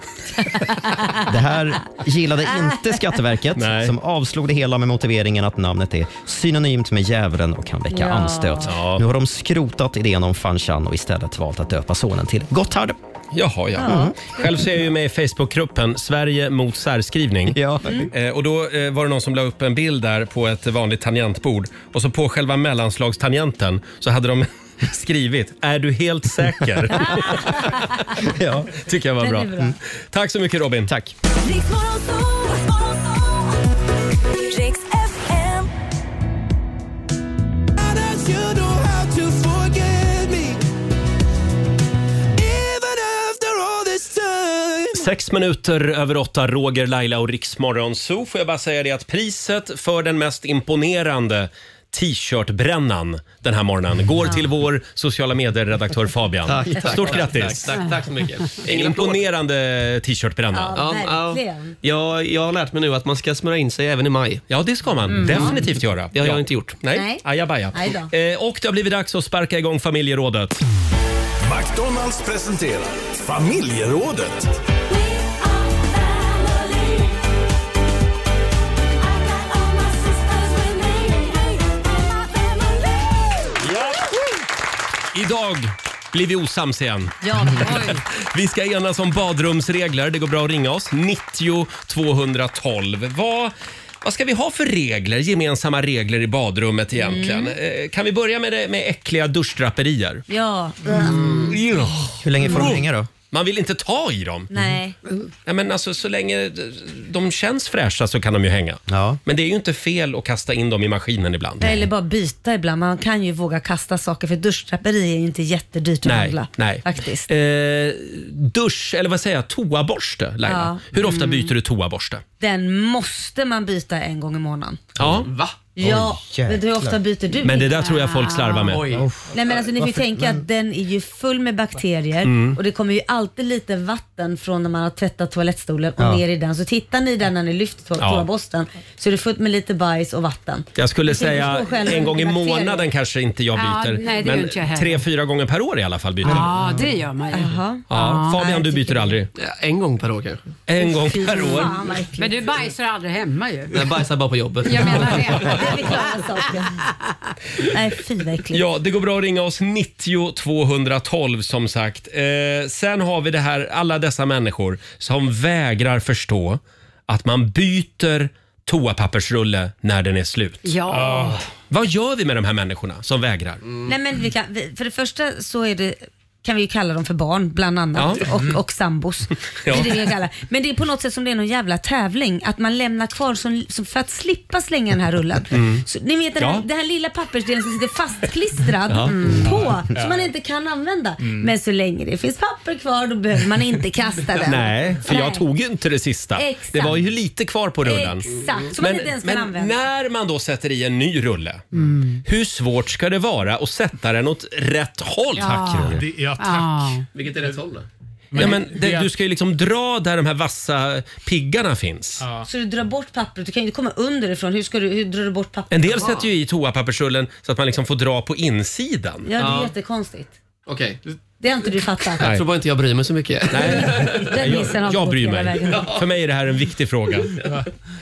det här gillade inte Skatteverket
Nej.
som avslog det hela med motiveringen att namnet är synonymt med djävulen och kan väcka
Ja.
anstöt.
Ja.
Nu har de skrotat idén om Fan Chan och istället valt att döpa sonen till Gotthard.
Jaha, ja. Själv så är jag ju med i Facebookgruppen Sverige mot särskrivning.
Ja.
Eh, och då eh, var det någon som la upp en bild där på ett vanligt tangentbord och så på själva mellanslagstangenten så hade de (laughs) skrivit “Är du helt säker?”
(laughs)
ja.
tycker jag var
Den
bra.
är bra.
Mm. Tack så mycket Robin.
Tack.
Riks FM.
Sex minuter över åtta, Roger, Laila och Riksmorgon Zoo. Får jag bara säga det att priset för den mest imponerande t-shirtbrännan den här morgonen går till vår sociala medier-redaktör Fabian. Stort grattis!
Tack, tack, tack så
(laughs)
mycket. Ingen applåd.
Imponerande t-shirtbränna.
Ja,
Ja, ja.
verkligen.
Jag, jag har lärt mig nu att man ska smörja in sig även i maj.
Ja, det ska man definitivt göra.
Det har
Ja.
jag inte gjort.
Nej,
Mm. Nej.
ajabaja.
Aj då.
Eh, och det har blivit dags att sparka igång familjerådet.
McDonalds presenterar Familjerådet.
We are family. I got all my sisters with me. And my family.
Idag blir vi osams igen.
Ja, oj.
Vi ska enas om badrumsregler. Det går bra att ringa oss. 90 212. Vad, vad ska vi ha för regler? Gemensamma regler i badrummet egentligen.
Mm.
Eh, Kan vi börja med, det, med äckliga duschdraperier? Mm.
Ja, Mm.
Hur länge får de hänga då?
Man vill inte ta i dem.
nej.
Nej, men alltså, så länge de känns fräscha så kan de ju hänga.
Ja.
Men det är ju inte fel att kasta in dem i maskinen ibland.
Eller bara byta ibland. Man kan ju våga kasta saker för duschdraperi är ju inte jättedyrt att
Nej,
handla.
nej.
Faktiskt.
Eh, dusch, eller vad säger jag, toaborste
Mm.
Laila. Hur ofta byter du toaborste?
Den måste man byta en gång i månaden.
Ja.
Va?
Ja,
Oj,
men hur
jäklar.
ofta byter du?
Men det där tror jag folk slarvar med. Oj.
Nej men alltså ni får
Varför-
ju tänka att den är ju full med bakterier
Mm.
och det kommer ju alltid lite vatten från när man har tvättat toalettstolen och
Ja.
ner i den. Så tittar ni i den när ni lyfter to-
Ja.
toaborsten så är det fullt med lite bajs och vatten.
Jag skulle
Du kan ju
säga
förstå själv
en gång i
bakterier.
månaden kanske inte jag
Ja,
byter.
nej, det gör
men
inte jag heller.
tre, fyra gånger per år i alla fall byter jag.
Ja, det gör man ju.
Ja. Fabian, du byter aldrig?
En gång per år kanske.
En gång per år?
Men du bajsar aldrig hemma ju.
Jag bajsar bara på jobbet.
Jag menar det.
Det är klara saker. Nej fy vad äckligt.
Ja, det går bra att ringa oss 90 212 som sagt. Eh, sen har vi det här, alla dessa människor som vägrar förstå att man byter toapappersrulle när den är slut.
Ja.
Ah. Vad gör vi med de här människorna som vägrar?
Nej, men vi kan, vi, för det första så är det kan vi ju kalla dem för barn bland annat
Ja. Mm.
och, och
(laughs)
sambos.
Ja.
Det är det vi kan kalla. Men det är på något sätt som det är någon jävla tävling att man lämnar kvar som, som för att slippa slänga den här rullen.
Mm.
Så, ni vet den, här,
Ja.
den här lilla pappersdelen som sitter fastklistrad Mm.
Ja.
på
Ja.
som man inte kan använda.
Mm.
Men så länge det finns papper kvar då behöver man inte kasta den.
Nej, för jag
Nej.
tog ju inte det sista.
Exakt.
Det var ju lite kvar på rullen.
Exakt, som man inte ens kan
men
använda.
när man då sätter i en ny rulle, hur svårt ska det vara att sätta den åt rätt håll?
Ja.
Roger?
Det- ja, tack. Ja. Vilket är rätt håll då?
Men, ja, men det, du ska ju liksom dra där de här vassa piggarna finns.
Så du drar bort pappret, du kan ju inte komma underifrån. Hur, ska du, hur drar du bort pappret?
En del sätter ju i toapappersrullen så att man liksom får dra på insidan.
Ja, det är jättekonstigt.
Okej.
Det har inte du fattat.
Jag tror bara inte jag bryr mig så mycket.
Den missen har
Jag
gått
bryr
hela
mig.
vägen.
För mig är det här en viktig fråga.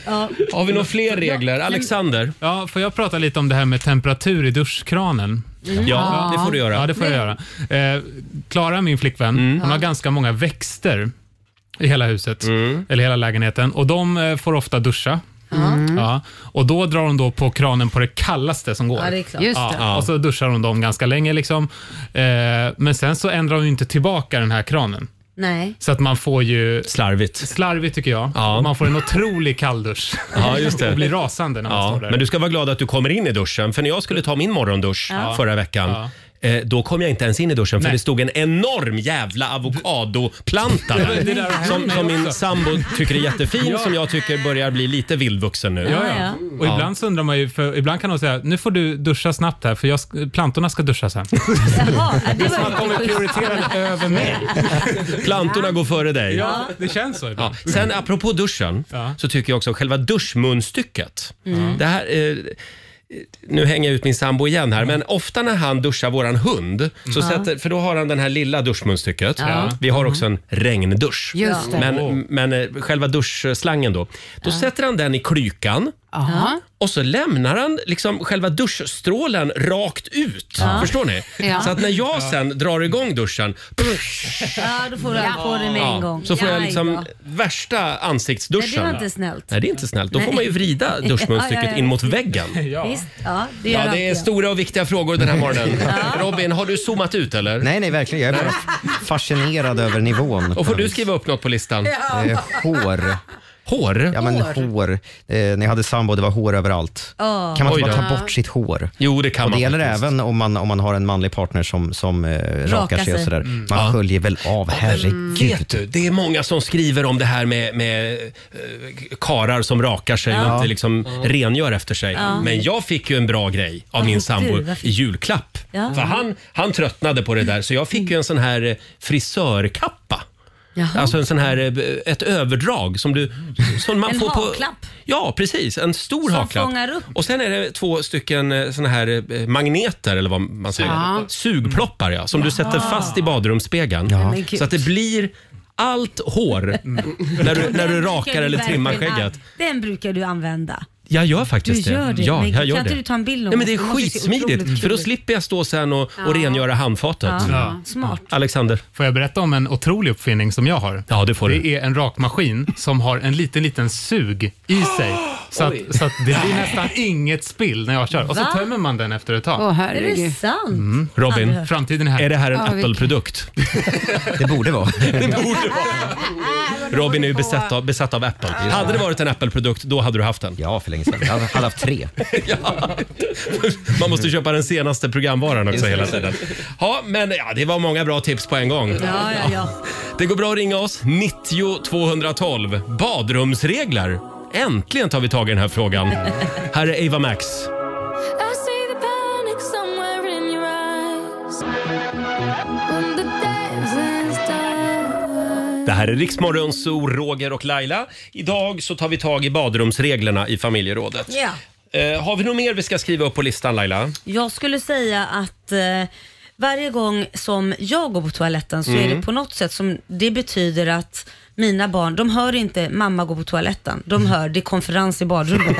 Ja.
Har vi några fler regler? Alexander?
Ja, får jag prata lite om det här med temperatur i duschkranen?
Ja, Ja. det får du göra. Mm.
Ja, det får jag göra. Eh, Klara, min flickvän, hon har ganska många växter i hela huset,
Mm.
eller hela lägenheten, och de eh, får ofta duscha.
Mm.
Ja, och då drar hon då på kranen på det kallaste som går.
Ja, det är klart. Just det.
Ja, och så duschar hon dem ganska länge. Liksom. Eh, men sen så ändrar hon ju inte tillbaka den här kranen.
Nej.
Så att man får ju...
Slarvigt.
Slarvigt tycker jag. Och Man får en otrolig kalldusch.
Ja, just
(laughs)
det.
Och blir rasande när man
Ja,
står där.
men du ska vara glad att du kommer in i duschen. För när jag skulle ta min morgondusch
Ja.
förra veckan eh, Då kom jag inte ens in i duschen för
Nej.
det stod en enorm jävla avokadoplanta
Det var- det där har
där.
hänt
Som,
mig
som min
också.
sambo tycker är jättefin,
Ja.
som jag tycker börjar bli lite vildvuxen nu.
Ja, ja. Och ibland så undrar man ju, för ibland kan de säga, nu får du duscha snabbt här för jag, sk- plantorna ska duscha sen.
Jaha, ja, det
Man kommer
var ju
prioritera över mig.
Plantorna går före dig.
Ja, det känns så ibland.
Ja. Sen apropå duschen så tycker jag också själva duschmunstycket.
Mm.
Det här, eh, nu hänger jag ut min sambo igen här, men ofta när han duschar våran hund, så
Ja.
sätter, för då har han den här lilla duschmunstycket.
Mm. Ja.
Vi har också en regndusch.
Just det.
Men, men eh, själva duschslangen då. Då sätter han den i klykan.
Aha.
Och så lämnar han liksom själva duschstrålen rakt ut.
Ja.
Förstår ni?
(laughs) Ja.
Så att när jag sen drar igång duschen,
Ja, då får du allt på dig med en gång.
så får jag
Jaj
liksom
då.
värsta ansiktsduschen.
Nej, det var inte snällt.
Nej, det är inte snällt. Då
Nej.
får man ju vrida duschmunstycket
(laughs) Ja, ja, ja.
in mot väggen.
Visst, (laughs) ja, det gör
Ja, det är
alltid
stora och viktiga frågor den här morgonen.
(laughs)
Robin, har du zoomat ut eller?
Nej, nej, verkligen. Jag är bara fascinerad över nivån.
Och får du skriva upp något på listan?
Eh, hår.
Hår?
Ja, men
Hår.
hår. Eh, när jag hade sambo, det var hår överallt.
Ja.
Kan man
Oj
inte
då.
bara ta bort sitt hår?
Jo, det kan
och det
man
gäller
faktiskt.
även om man, om man har en manlig partner som, som eh, rakar sig och
sig.
sådär.
Mm.
Man
Ja.
sköljer väl av, herregud.
Vet du, det är många som skriver om det här med, med eh, karar som rakar sig och
Ja.
inte liksom rengör efter sig.
Ja.
Men jag fick ju en bra grej av
Vad
min
fick
sambo
du? Vad
i julklapp.
Ja.
För han, han tröttnade på det där så jag fick ju en sån här eh, frisörkappa.
Jaha.
Alltså en sån här, eh, ett överdrag som du... Som man
En
får på,
haklapp?
Ja, precis. En stor
Som
haklapp.
fångar upp.
Och sen är det två stycken eh, såna här eh, magneter eller vad man säger.
Ja.
Sugploppar ja, som du sätter
Jaha.
fast i badrumsspegeln.
Men gud. Mm.
Så att det blir allt hår när du, när du
Den
rakar
brukar
eller
du
trimmar
verkligen
skägget.
an- Den brukar du använda.
Jag gör faktiskt
Du gör det.
Ja,
Men
jag
kan
gör
inte
det.
du ta en bild om
Nej, men det är
oss? Det måste ju se otroligt
skitsmidigt för då
kul ut.
slipper jag stå sen och,
Ja.
och rengöra handfatet.
Ja. Smart.
Alexander.
Får jag berätta om en otrolig uppfinning som jag har?
Ja, det får
det
du.
är en rakmaskin som har en liten, liten sug i sig. Så att,
Oj.
så att det blir nästan inget spill när jag kör. Och så
Va?
tömmer man den efter ett tag.
Åh, herregud. Är det sant?
Mm.
Aldrig hört.
framtiden är här.
Är det här en
Ja, vilken-
Apple-produkt? det borde
(laughs)
vara. det borde vara. Robin är ju besatt av, besatt av Apple. Hade det varit en Apple-produkt, då hade du haft
(laughs)
den. Ja, för länge sedan. Jag hade haft tre. Man måste köpa den senaste programvaran också hela tiden. Ja, men ja, det var många bra tips på en gång.
Ja, ja, ja.
Det går bra att ringa oss. 90 212. Badrumsregler. Äntligen tar vi tag i den här frågan. Här är Ava Max.
I see the panic somewhere in your eyes. When the dancing's done.
Det här är Riksmorgon, Zoo, Roger och Laila. Idag så tar vi tag i badrumsreglerna i familjerådet.
Ja.
Eh, har vi något mer vi ska skriva upp på listan Laila?
Jag skulle säga att eh, varje gång som jag går på toaletten så är
Mm.
det på något sätt som det betyder att mina barn, de hör inte mamma gå på toaletten.
Mm.
De hör det är konferens i badrummet.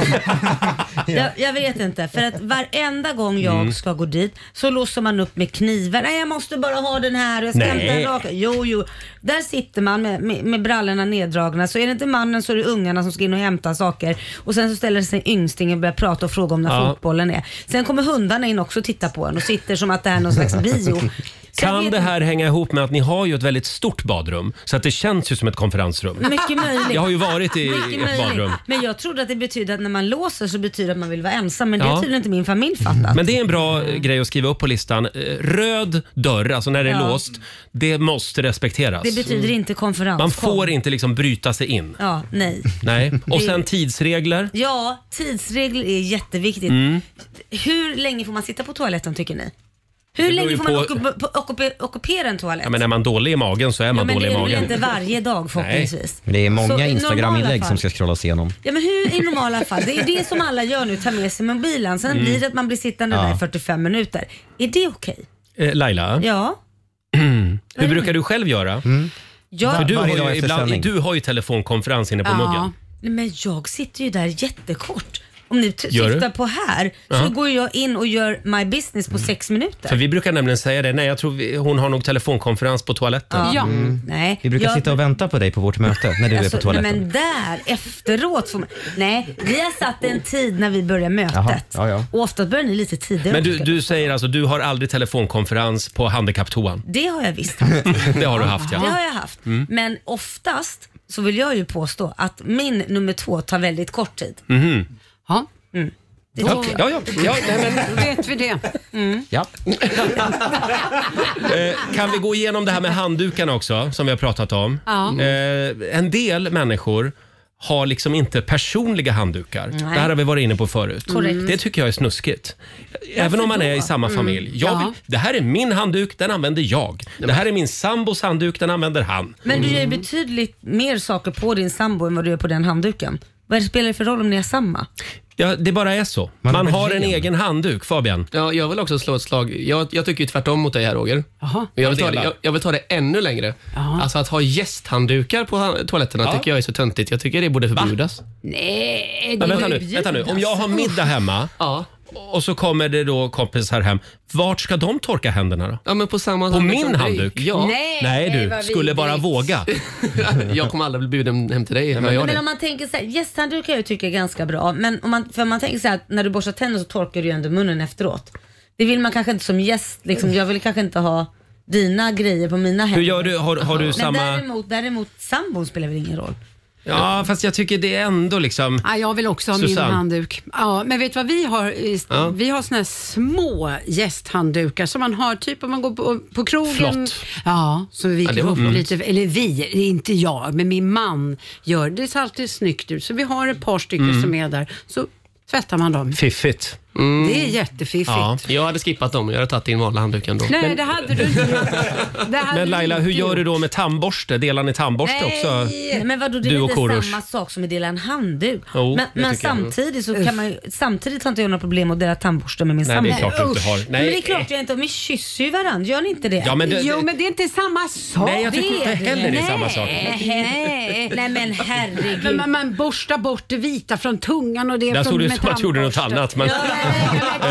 (laughs)
jag, jag vet inte, för att varenda gång jag
Mm.
ska gå dit så låser man upp med knivar. Nej, jag måste bara ha den här och jag ska
Nej.
hämta den raka. Jo, jo. Där sitter man med, med, med brallorna neddragna. Så är det inte mannen så är det ungarna som ska in och hämta saker. Och sen så ställer sig ynglingen och börjar prata och fråga om när
Ja.
fotbollen är. Sen kommer hundarna in också och tittar på en och sitter som att det här är någon slags
(laughs)
bio.
Kan
vet
det
jag-
här hänga ihop med att ni har ju ett väldigt stort badrum så att det känns ju som ett konferensrum? (laughs)
Mycket möjligt.
Jag har ju varit i
Mycket
ett
möjligt.
badrum.
Men jag trodde att det betydde att när man låser så betyder det att man vill vara ensam. Men det har
Ja.
tydligen inte min familj fattat.
Men det är en bra eh, grej att skriva upp på listan. Eh, Röd dörr, alltså när det är
Ja.
låst, det måste respekteras.
Det betyder inte konferens.
Man
Kom.
får inte liksom bryta sig in.
Ja, nej.
Nej. Och
(laughs) Det-
sen tidsregler.
Ja, tidsregler är jätteviktigt.
Mm.
Hur länge får man sitta på toaletten tycker ni? Hur
Det beror
länge
ju
får man
på-
ockup- på- ockup- ockupera en toalett?
Ja, men är man dålig i magen så är man
Ja, men
dålig
det
i
är väl
magen.
inte
(laughs)
varje dag förhoppningsvis.
Det är
Så i
många
normala
Instagram-inlägg
fall-
som ska scrollas igenom.
Ja men hur i normala fall? Det är det som alla gör nu, tar med sig mobilen. Sen
Mm.
blir det att man blir sittande där
Ja.
i 45 minuter. Är det okej?
Eh, Laila,
Ja.
hur brukar du själv göra?
Jag-
För du,
Mm. Varje
har
dag
ju
efter sändning.
ibland, du har ju telefonkonferens inne på muggen.
Nej, Men jag sitter ju där jättekort. Om ni t-
Gör du?
tittar på här så
Ja. Mm.
går jag in och gör my business på sex minuter.
För vi brukar nämligen säga det, nej jag tror vi, hon har nog telefonkonferens på toaletten.
Ja. Mm. Nej.
Vi brukar
jag-
sitta och vänta på dig på vårt möte när du är på
Alltså, nej,
toaletten.
men där efteråt får man... Nej, vi har satt en tid när vi börjar mötet.
Jaha, ja, ja.
Och ofta börjar ni lite tidigare.
Men du,
också.
du säger alltså, du har aldrig telefonkonferens på handikapptoan?
Det har jag visst.
det har du haft ja.
Det har jag haft.
Mm.
Men oftast så vill jag ju påstå att min nummer två tar väldigt kort tid.
Mhm.
Ja.
Mm. Det
Då-
tycker jag.
Ja, ja. ja nej, men,
Då vet vi det.
ja. eh, kan vi gå igenom det här med handdukarna också, som vi har pratat om?
Ja.
Eh, en del människor har liksom inte personliga handdukar.
Nej.
Det här har vi varit inne på förut.
Korrekt.
Det tycker jag är snuskigt. Även om man är i samma
Mm.
familj. Jag
Ja.
vill, Det här är min handduk, den använder jag. Det här är min sambos handduk, den använder han.
Men du gör ju
Mm.
betydligt mer saker på din sambo än vad du gör på den handduken. Vad spelar det för roll om ni är samma?
Ja, det bara är så. Man, har en egen handduk, Fabian.
Ja, jag vill också slå ett slag. Jag, jag tycker ju tvärtom mot dig här, Roger. Men jag, vill ta det,
Delar.
jag, jag vill ta det ännu längre. Alltså att ha gästhanddukar på han- toaletterna
Ja.
tycker jag är så töntigt. Jag tycker det borde förbjudas.
Nej,
Men vänta, nu, vänta nu, om jag har middag hemma och så kommer det då kompisar hem. Vart ska de torka händerna då?
Ja, men på samma
På
handduk
min
som dig.
handduk?
Ja.
Nej,
Nej du,
vad
skulle bara
vidrigt.
våga.
(laughs) jag kommer aldrig bli bjuden hem till dig. Men,
men om man tänker så här, gästhandduk kan jag ju tycka är ganska bra. Men om man, för man tänker så här, att när du borstar tänderna så torkar du ju ändå munnen efteråt. Det vill man kanske inte som gäst, liksom, jag vill kanske inte ha dina grejer på mina händer.
Hur gör du? Har- har du
men
samma-
Däremot, däremot sambon spelar väl ingen roll?
Ja, fast jag tycker det är ändå liksom...
Ja, jag vill också ha
Susanne.
min handduk. Ja, men vet du vad vi har? i-
Ja.
Vi har såna här små gästhanddukar som man har typ om man går på, på krogen.
Flott.
Ja, så vi
Ja, det
klär
var
upp
flott.
lite. Eller vi, det är inte jag, men min man gör. Det ser alltid snyggt ut. Så vi har ett par stycken
Mm.
som är där. Så tvättar man dem.
Fiffigt.
Det är jättefiffigt.
Ja. Mm. Jag hade skippat dem. Jag hade tagit din vanliga handduk ändå.
Nej, det hade du inte gjort. Det hade
(laughs) Men Laila,
du
hur
inte
gör
gjort.
du då med tandborste? Delar ni tandborste också?
Nej, men vadå, det är
du och
väl inte
Korosh?
samma sak som att dela en handduk.
Jo,
men
det
men
tycker jag.
samtidigt så kan man ju, samtidigt har inte jag några problem att dela tandborste med min
Nej,
sambo.
det är klart du inte har.
Men det är
Nej.
klart jag inte har. Vi kysser ju varandra, gör ni inte det?
Ja, men det- Jo,
men det är inte samma sak.
Nej, jag tycker inte heller det är samma sak.
Nej, nej men herregud.
Men man, man borstar bort det vita från tungan och det
Där
från
såg det ut
med
som att du gjorde något
tandborste.
annat. Men,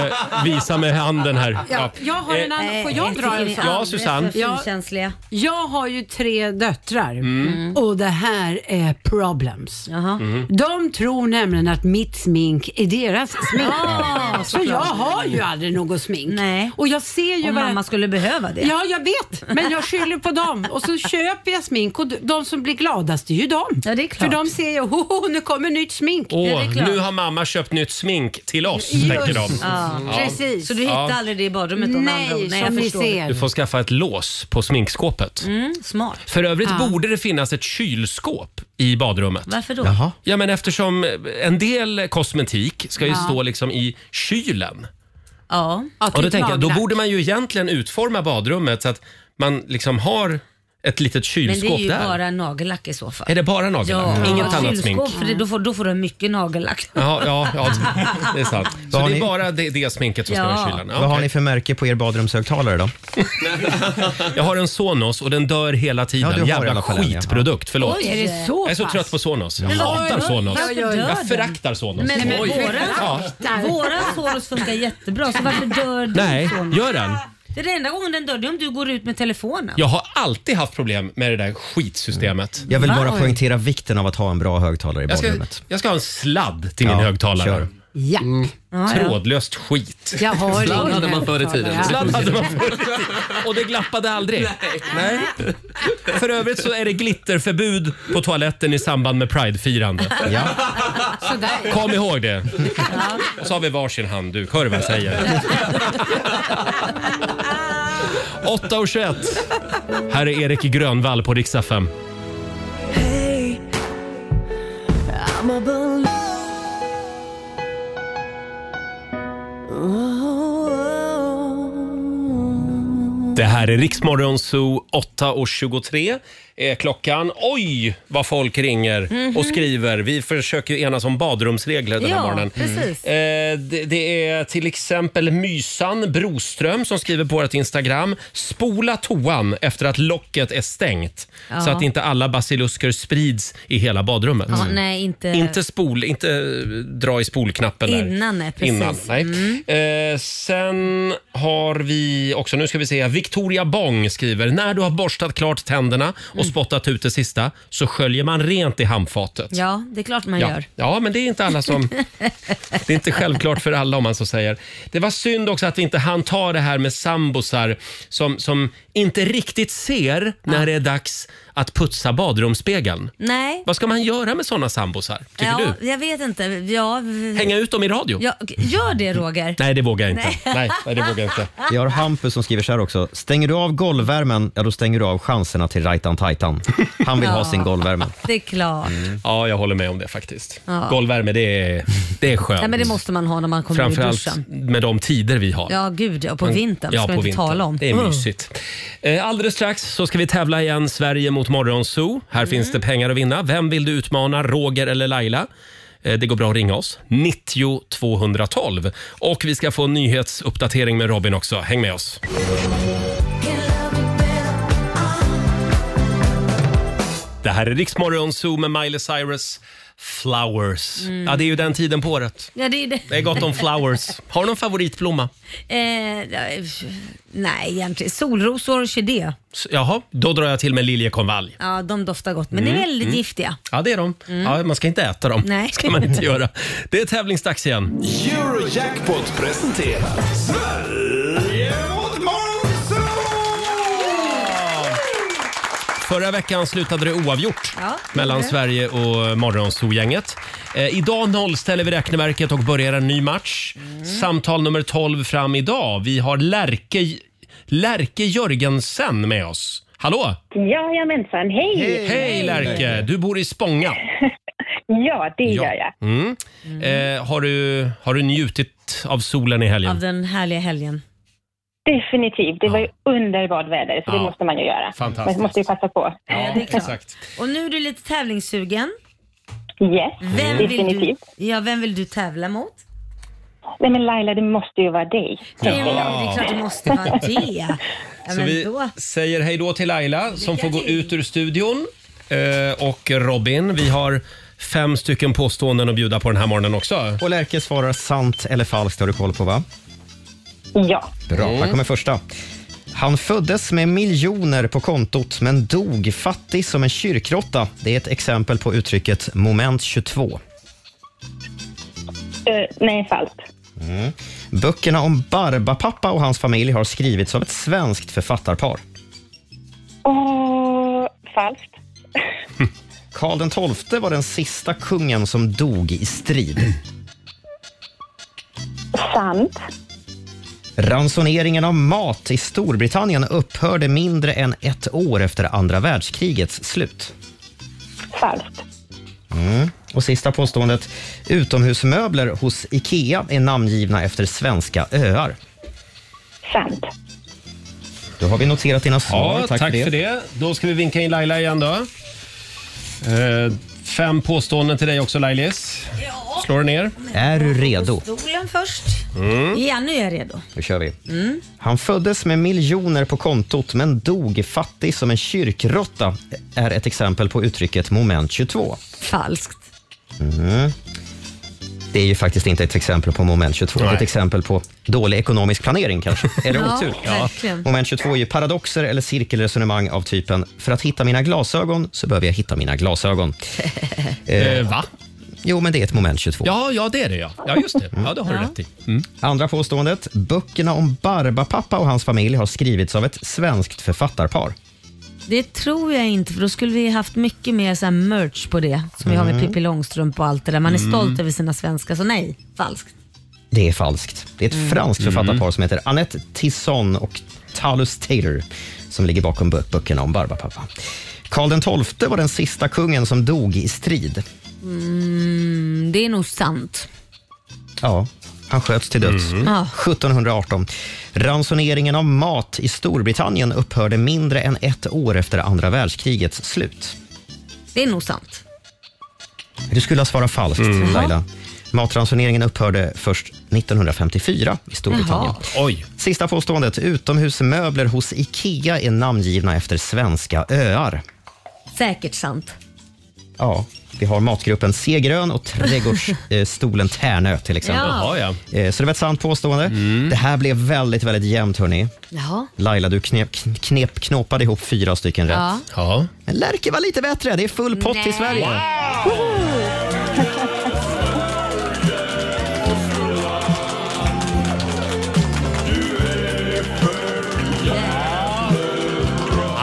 eh, visa med handen här.
Ja, jag har en
Eh,
annan. Får jag dra en sak?
Ja, Susanne.
Ja,
känsliga.
Jag har ju tre döttrar
Mm.
och det här är problems.
Mm.
De tror nämligen att mitt smink är deras smink.
Ja,
så jag
såklart.
har ju aldrig något smink. Nej. Och jag ser ju
Om
vad-
mamma skulle behöva det.
Ja, jag vet. Men jag skyller på dem. Och så köper jag smink och de som blir gladast är ju de. Ja, det är klart. För de ser ju, oh, nu kommer nytt smink.
Åh, nu har mamma köpt nytt smink till oss,
Ja,
tänker tycker de.
Ja.
Ja.
Så du hittar
Ja.
aldrig det i badrummet om
Nej,
andra ord.
som ni
förstår.
ser.
Du får skaffa ett lås på sminkskåpet.
Mm, smart.
För övrigt
Ja.
borde det finnas ett kylskåp i badrummet.
Varför då?
Jaha.
Ja, men eftersom en del kosmetik ska ju
Ja.
stå liksom i kylen.
Ja.
Ja,
Och då
typ
tänker jag, då
nagellack.
borde man ju egentligen utforma badrummet så att man liksom har ett litet
Men det är
kylskåp
ju
där.
bara nagellack i så fall.
Är det bara nagellack?
Ja,
Inget
och
annat smink?
kylskåp, För det, då, får, då får du mycket nagellack.
Ja, ja, ja, det är sant. Så
Vad har
det är
ni-
bara det, det sminket som ska
Ja.
vara i kylen? Ja,
Vad har
okej.
ni för märke på er badrumshögtalare då?
Jag har en Sonos och den dör hela tiden.
Ja, du har i
Jävla
alla fall en, ja.
skitprodukt, förlåt.
Oj, är det så
Jag är så
pass?
trött på Sonos. Jag hatar Sonos.
Varför
Jag
dör
Jag
den?
föraktar Sonos.
Men, men
Oj.
våra,
Ja.
våra Sonos funkar jättebra, så varför dör din
Nej,
Sonos?
gör den?
Det är den enda gången den dör, det är om du går ut med telefonen.
Jag har alltid haft problem med det där skitsystemet.
Jag vill
Va?
bara
Oj.
poängtera vikten av att ha en bra högtalare i
Jag ska,
badrummet.
jag ska ha en sladd till min
Ja,
högtalare.
kör.
Ja.
Ja, ja.
Trådlöst skit.
Jag har
Ibland
ingen
hade man förr i tiden.
högtalare.
Ibland-
Sladd hade man förut. Och det glappade aldrig. Nej. För övrigt så är det glitterförbud på toaletten i samband med pridefirande.
Ja.
Sådär.
Kom ihåg det. Och så har vi varsin handduk. Hör du vad jag
(laughs)
säger? 8.21. Här är Erik Grönvall på riksdag 5.
Oh,
Det här är Riksmorgon Zoo 8.23 är klockan. Oj, vad folk ringer och skriver. Vi försöker ju enas om badrumsregler den här
Mhm. Ja,
morgonen.
precis.
Eh, det, det är till exempel Mysan Broström som skriver på vårt Instagram. Spola toan efter att locket är stängt
Ja.
så att inte alla basilusker sprids i hela badrummet.
Ja, nej, inte...
Mm. Inte, spol, inte eh, dra i spolknappen där.
Innan, nej, precis. Mm.
Innan, nej. Eh, sen har vi också, nu ska vi se, Victoria Bong skriver, när du har borstat klart tänderna och
Mm.
spottat ut det sista så sköljer man rent i handfatet.
Ja, det är klart man
Ja.
gör.
ja, men det är inte alla
(laughs)
som... Det är inte självklart för alla om man så säger. Det var synd också att vi inte hann ta det här med sambosar som, som inte riktigt ser när det är dags att putsa badrumsspegeln.
Nej.
Vad ska man göra med såna sambosar, tycker
ja,
du?
Jag vet inte. Ja, v-
Hänga ut dem i radio?
ja, gör det Roger.
Nej, det vågar jag inte. (laughs) Nej, nej det vågar jag inte.
Jag har Hampus som skriver så här också. Stänger du av golvvärmen, ja då stänger du av chanserna till Rajtan Tajtan. Han vill ha sin golvvärme.
Det är klart.
Mm. Ja, jag håller med om det faktiskt.
Ja.
Golvvärme, det är, det är skönt.
Nej, men det måste man ha när man kommer ur
Framförallt
duschen.
med de tider vi har.
Ja, gud ja. På
Man-
vintern ska man inte
Mm. vintern.
tala om.
Det är
Mm.
mysigt. Eh, Alldeles strax så ska vi tävla igen Sverige mot Morgonzoo. Här
Mm.
finns det pengar att vinna. Vem vill du utmana, Roger eller Laila? Eh, Det går bra att ringa oss. 90 212. Och vi ska få en nyhetsuppdatering med Robin också. Häng med oss. Det här är Riksmorgon Zoo med Miley Cyrus. Flowers.
Mm.
Ja, det är ju den tiden på året.
Ja, det är det.
Det är gott om flowers. Har du någon favoritblomma?
Eh, ja, nej, egentligen. Solros och orkidé.
S- Jaha, då drar jag till med liljekonvalj.
Ja, de doftar gott, men
Mm.
det är väldigt giftiga.
Ja, det är de. Ja, man ska inte äta dem.
Nej.
(laughs) ska man inte göra. Det är tävlingsdags igen.
Eurojackpot presenterar Sverige mot Morgonzoo!
Förra veckan slutade det oavgjort
Ja, det
mellan
gjorde det.
Sverige och Morgonzoo-gänget. Eh, idag nollställer vi räkneverket och börjar en ny match. Samtal nummer 12 fram idag. Vi har Lärke, Lärke Jörgensen med oss. Hallå!
Jajamensan, hej!
Hej, Lärke! Du bor i Spånga.
Ja, det
Ja.
gör jag.
Mm. Eh, har, du, har du njutit av solen i helgen?
Av den härliga helgen.
Definitivt. Det var ju underbart väder, så det
Ja.
måste man ju göra.
Fantastiskt.
Man måste ju passa på.
Ja, exakt.
Och nu är du lite tävlingssugen.
Yes,
Vem vill du,
definitivt.
ja, vem vill du tävla mot?
Nej men Laila, det måste ju vara dig.
Ja. Det är klart det måste vara det. Ja,
Så
men
vi
då.
säger hej då till Laila som får gå ut ur studion. Eh, och Robin, vi har fem stycken påståenden att bjuda på den här morgonen också.
Och Lärke svarar sant eller falskt, har du koll på va?
Ja.
Bra,
Mm.
här kommer första. Han föddes med miljoner på kontot, men dog fattig som en kyrkråtta. Det är ett exempel på uttrycket moment 22.
Eh, nej, falskt.
Böckerna om Barbapapa och hans familj har skrivits av ett svenskt författarpar.
Åh, falskt.
Karl den XII var den sista kungen som dog i strid.
Sant.
Ransoneringen av mat i Storbritannien upphörde mindre än ett år efter andra världskrigets slut.
Falskt.
Mm. Och sista påståendet. Utomhusmöbler hos IKEA är namngivna efter svenska öar.
Sant.
Då har vi noterat dina svar.
Ja, tack, för, det. Då ska vi vinka in Laila igen då. Eh, fem påståenden till dig också Lailis. Slår du ner?
Är du redo?
Stolen först.
Mm.
Ja, nu är jag redo.
Nu kör vi. Han föddes med miljoner på kontot men dog fattig som en kyrkrotta är ett exempel på uttrycket moment 22.
Falskt.
Mm. Det är ju faktiskt inte ett exempel på moment 22. Det är ett exempel på dålig ekonomisk planering kanske. Eller
Ja,
otur.
verkligen.
Moment 22 är ju paradoxer eller cirkelresonemang av typen “för att hitta mina glasögon så behöver jag hitta mina glasögon”.
Eh, va?
Jo, men det är ett moment 22.
Ja, ja det är det ja. Ja, just det. Ja, det har du rätt i.
Andra påståendet. Böckerna om Barbapapa och hans familj har skrivits av ett svenskt författarpar.
Det tror jag inte för då skulle vi haft mycket mer så här merch på det som vi har med
Mm.
Pippi Långstrump och allt det där. Man är
Mm.
stolt över sina svenska så nej, falskt.
Det är falskt. Det är ett
Mm.
franskt
Mm.
författarpar som heter Annette Tisson och Talus Taylor som ligger bakom bö- böckerna om Barbapapa. Karl XII var den sista kungen som dog i strid.
Mm, det är nog sant.
Ja, han sköts till döds
Ja.
1718. Ransoneringen av mat i Storbritannien upphörde mindre än ett år efter andra världskrigets slut.
Det är nog sant.
Du skulle ha svarat falskt,
Mm.
Laila. Matransoneringen upphörde först 1954 i Storbritannien.
Oj.
Sista påståendet. Utomhusmöbler hos IKEA är namngivna efter svenska öar.
Säkert sant.
Ja, vi har matgruppen Segrön och (laughs) trädgårdsstolen Tärnö till exempel.
Ja. Jaha,
Eh, Så det var ett sant påstående. Det här blev väldigt, väldigt jämnt hörni.
Jaha.
Laila, du knep, knep, knåpade ihop fyra stycken
Ja.
rätt. Men Lärke var lite bättre. Det är full pott
Nej.
till Sverige.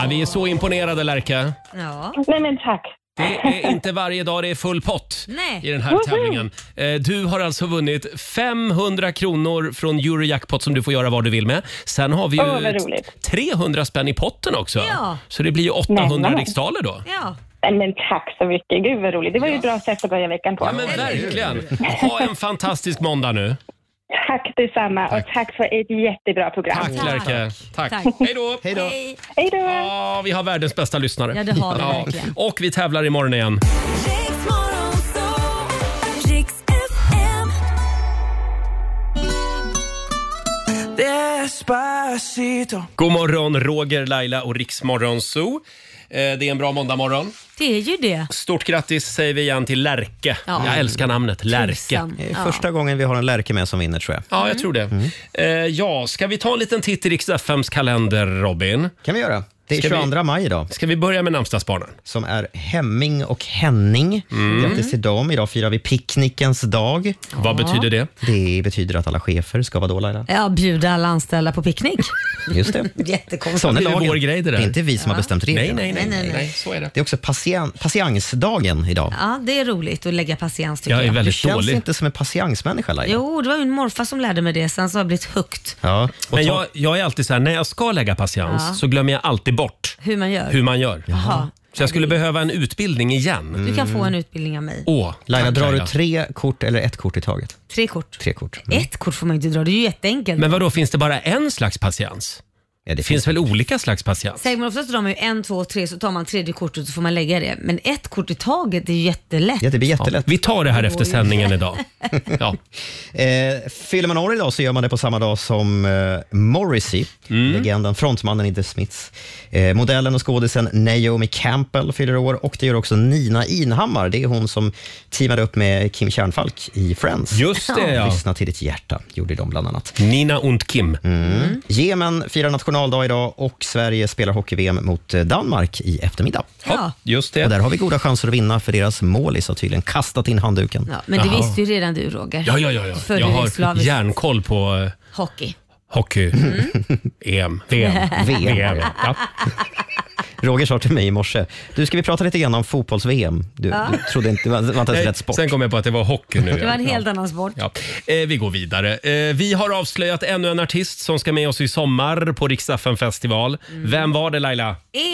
Ja, vi är så imponerade Lärka.
Ja.
Nej, men tack.
Det är inte varje dag det är full pott
Nej.
i den här
Woho!
tävlingen. Eh, Du har alltså vunnit 500 kronor från Eurojackpot som du får göra vad du vill med. Sen har vi ju
Åh, vad
ett-
roligt.
300 spänn i potten också.
Ja.
Så det blir ju 800
Nämen.
riksdaler då.
Ja.
Nej, men tack så mycket. Gud vad roligt. Det var ju ett bra sätt att börja veckan på.
Ja men verkligen. Ha en fantastisk måndag nu.
Tack detsamma och tack för ett jättebra program.
Tack Lärke. Tack. Hej då. Hej då.
Hej då.
Ja, vi har världens bästa lyssnare.
Ja, det har vi verkligen.
Och vi tävlar imorgon igen.
Despacito.
God morgon Roger, Laila och Riksmorgon Zoo. Eh, Det är en bra måndagmorgon.
Det är ju det.
Stort grattis säger vi igen till Lärke.
Ja.
Jag älskar namnet Lärke.
Tusan.
Det är första gången vi har en Lärke med som vinner tror jag.
Ja, jag tror det.
Mm.
Eh, ja, ska vi ta en liten titt i Rix FMs kalender, Robin?
kan vi göra. Det är 22 maj idag.
Ska vi börja med namnsdagsbarnen?
Som är Hemming och Henning. Grattis till dem. Idag firar vi picknickens dag.
Vad betyder det?
Det betyder att alla chefer ska vara då Laila.
Ja, bjuda alla anställda på picknick.
Just det.
Jättekonstigt.
Sån är
Det är
lagen.
vår grej det där.
Det är inte vi som har bestämt reglerna.
Nej, nej, nej, nej,
nej.
Så är det.
Det är också patien- patiensdagen idag.
Ja, det är roligt att lägga patiens tycker
Du
jag.
känns inte som en patiensmänniska Laila.
Jo, det var min morfar som lärde mig det. Sen så har jag blivit högt
Ja.
Men jag, jag är alltid så här, när jag ska lägga patiens
Ja.
så glömmer jag alltid bort
hur man gör.
hur man gör.
Jaha.
Så jag skulle behöva en utbildning igen.
Du kan få en utbildning av mig.
Åh,
Mm. Laila,
tack,
drar
Laila.
du tre kort eller ett kort i taget?
Tre kort.
Tre kort. Mm.
Ett kort får man inte dra, det är ju jätteenkelt.
Mm. Men vad då finns det bara en slags patiens?
det finns,
väl olika slags patiens?
Säger man oftast drar man ju en, två, tre, så tar man tredje kortet och så får man lägga det. Men ett kort i taget är ju jättelätt.
Ja, det blir jättelätt.
vi tar det här efter sändningen idag. Ja.
Eh, fyller man år idag så gör man det på samma dag som eh, Morrissey,
Mm.
legenden, frontmannen i The Smiths. Eh, modellen och skådisen Naomi Campbell fyller år och det gör också Nina Inhammar. Det är hon som teamade upp med Kim Kärnfalk i Friends.
Just det, ja.
Lyssna till ditt hjärta, gjorde de bland annat.
Nina und Kim.
Mm. Jemen firar nationaldag idag och Sverige spelar hockey-VM mot eh, Danmark i eftermiddag.
Ja.
Just det.
Och där har vi goda chanser att vinna för deras målis har tydligen kastat in handduken.
Ja, men det
Jaha.
visste ju redan du Roger.
Ja, ja, ja. ja.
För
Jag
du är
har
slavisk.
järnkoll på eh, E
Hockey.
Mm. (laughs) Alltså,
hockey, EM, VM.
VM,
ja.
Roger sa till mig i morse, du ska vi prata lite grann om fotbolls-VM? Du,
Ja.
du trodde inte, det var det var inte ens
Nej,
rätt sport.
Eh, Sen kom jag på att det var hockey nu.
Det var en helt annan sport.
Ja. Eh, vi går vidare. Eh, vi har avslöjat ännu en artist som ska med oss i sommar på Riksdagen festival.
Mm.
Vem var det Laila?
Ea!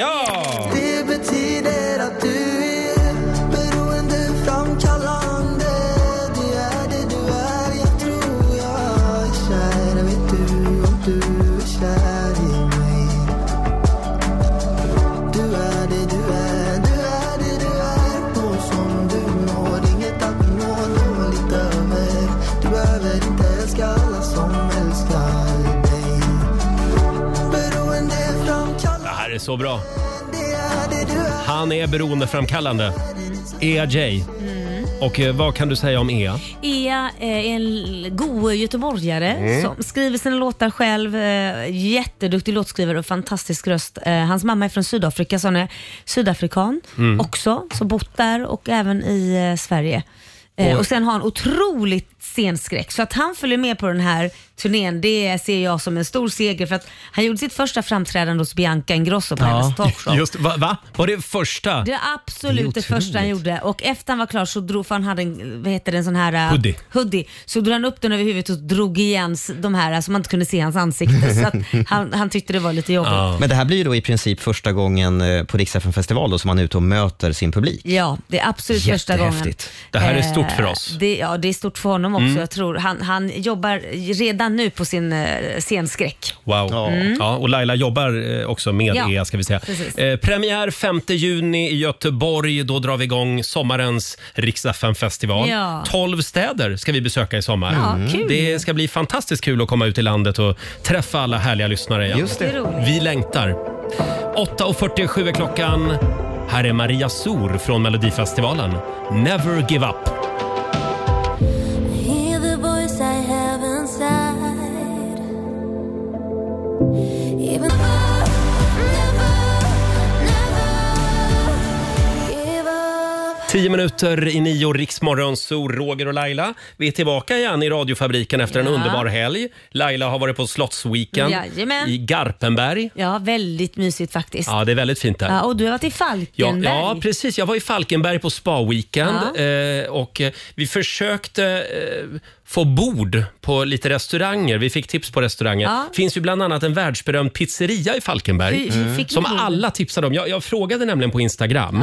Ja!
Det betyder att du är beroendeframkallande. Det är det du är, jag tror jag är kär. Vet du om du är kär i mig? Du är det du är, du är det du är. Någon som du når, inget att nå, någon lite över. Du behöver inte älska alla som älskar dig. Beroendeframkallande.
Det här är så bra.
Det är det du är.
Han är beroendeframkallande. Ea J.
Mm.
Och eh, vad kan du säga om Ea?
Ea är eh, en god göteborgare
Mm.
som skriver sina låtar själv. eh, Jätteduktig låtskrivare och fantastisk röst. Eh, Hans mamma är från Sydafrika så han är sydafrikan
Mm.
också. Så bott där och även i eh, Sverige. Eh,
Oj.
Och sen har han otroligt scenskräck. Så att han följer med på den här turnén, det ser jag som en stor seger. För att han gjorde sitt första framträdande hos Bianca Ingrosso på hennes talkshow.
Just, va, va? Var det första?
Det är absolut det,
Det är
första han gjorde. Och efter han var klar så drog, för han hade en, vad heter det, en sån här eh,
Hoodie.
hoodie. Så drog han upp den över huvudet och drog igen s- de här så alltså man inte kunde se hans ansikte.
(laughs)
så att han, han tyckte det var lite jobbigt. Ja.
Men det här blir ju då i princip första gången eh, på Riksdagen festival då, som man är ute och möter sin publik.
det är absolut första gången.
Jättehäftigt.
Det här är stort
Eh,
för oss.
Det, ja, det är stort för honom också.
Mm.
Jag tror han, han jobbar redan nu på sin eh, scenskräck.
Wow. Ja.
Mm.
och Laila jobbar eh, också med
Ja,
Ea ska vi säga.
precis.
Eh, premiär 5 juni i Göteborg. Då drar vi igång sommarens Riksdagen festival.
Ja.
12 städer ska vi besöka i sommar. Mm.
Ja, kul.
Det ska bli fantastiskt kul att komma ut i landet och träffa alla härliga lyssnare igen.
Just det. Det är roligt.
Vi längtar. 8.47 är klockan. Här är Maria Sor från Melodifestivalen. Never give up.
Hear the voice I have inside. Even though never, never give up.
Tio minuter i nio, Riksmorgon, Sol, Roger och Laila. Vi är tillbaka igen i radiofabriken efter en
Ja.
underbar helg. Laila har varit på Slottsweekend
Jajamän.
i Garpenberg.
Ja, väldigt mysigt faktiskt.
Ja, det är väldigt fint där.
Ja, och du har varit i
Ja,
Falkenberg.
ja, precis. Jag var i Falkenberg på spa-weekend
Ja.
eh, och eh, vi försökte eh, få bord på lite restauranger. Vi fick tips på restauranger.
Ja.
finns ju bland annat en världsberömd pizzeria i Falkenberg
Hur- hur fick ni
Mm. som
bord?
alla tipsade om. Jag, jag frågade nämligen på Instagram,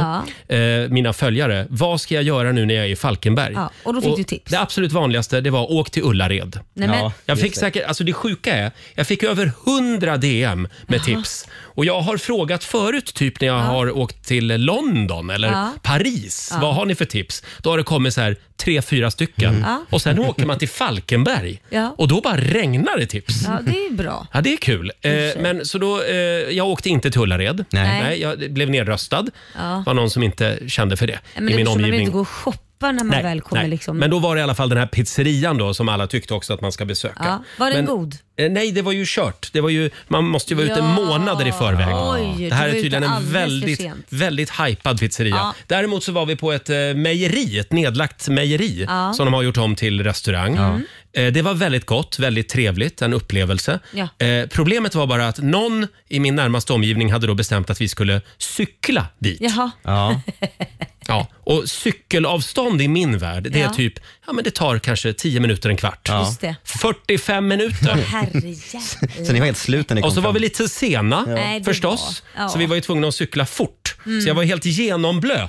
Ja.
eh, mina följare, vad ska jag göra nu när jag är i Falkenberg?
Ja, och då fick du tips.
Det absolut vanligaste det var åk till Ullared.
Nej, men- Ja,
jag
just
fick
det.
säkert, alltså det sjuka är, jag fick över 100 DM med
Jaha.
tips. Och jag har frågat förut, typ när jag har åkt till London eller
Ja.
Paris,
Ja.
vad har ni för tips? Då har det kommit så här tre, fyra stycken.
Mm. Ja.
Och sen åker man till Falkenberg
Ja.
och då bara regnar det tips.
Ja, det är bra.
Ja, det är kul. Eh,
och för sig.
men så då, eh, jag åkte inte till Ullared.
Nej.
jag blev nedröstad.
Ja.
Det var någon som inte kände för det
Men
i min
Man vill
omgivning.
inte gå och shoppa när man
Nej,
väl kommer.
nej.
Liksom.
Men då var det i alla fall den här pizzerian då som alla tyckte också att man ska besöka.
ja. Var den
Men-
god?
Eh, Nej, det var ju kört. Det var ju, man måste ju vara ute
Ja.
månader i förväg.
Oj,
det här
du
är
var
tydligen
ute
en
alldeles för
väldigt,
sent.
väldigt hypad pizzeria.
Ja.
Däremot så var vi på ett eh, mejeri, ett nedlagt mejeri
Ja.
som de har gjort om till restaurang. Eh, Det var väldigt gott, väldigt trevligt, en upplevelse.
Ja.
Eh, Problemet var bara att någon i min närmaste omgivning hade då bestämt att vi skulle cykla dit.
Jaha.
Ja. Ja, och cykelavstånd i min värld, det är
Ja.
typ, ja men det tar kanske 10 minuter, en kvart. (laughs)
Just det.
45 minuter.
(laughs)
Herrejävlar.
Så ni var helt slut när ni kom
Och så var
fram.
vi lite sena
Ja. Nej, det
förstås,
var- ja.
så vi var ju tvungna att cykla fort.
Mm.
Så jag var helt genomblöt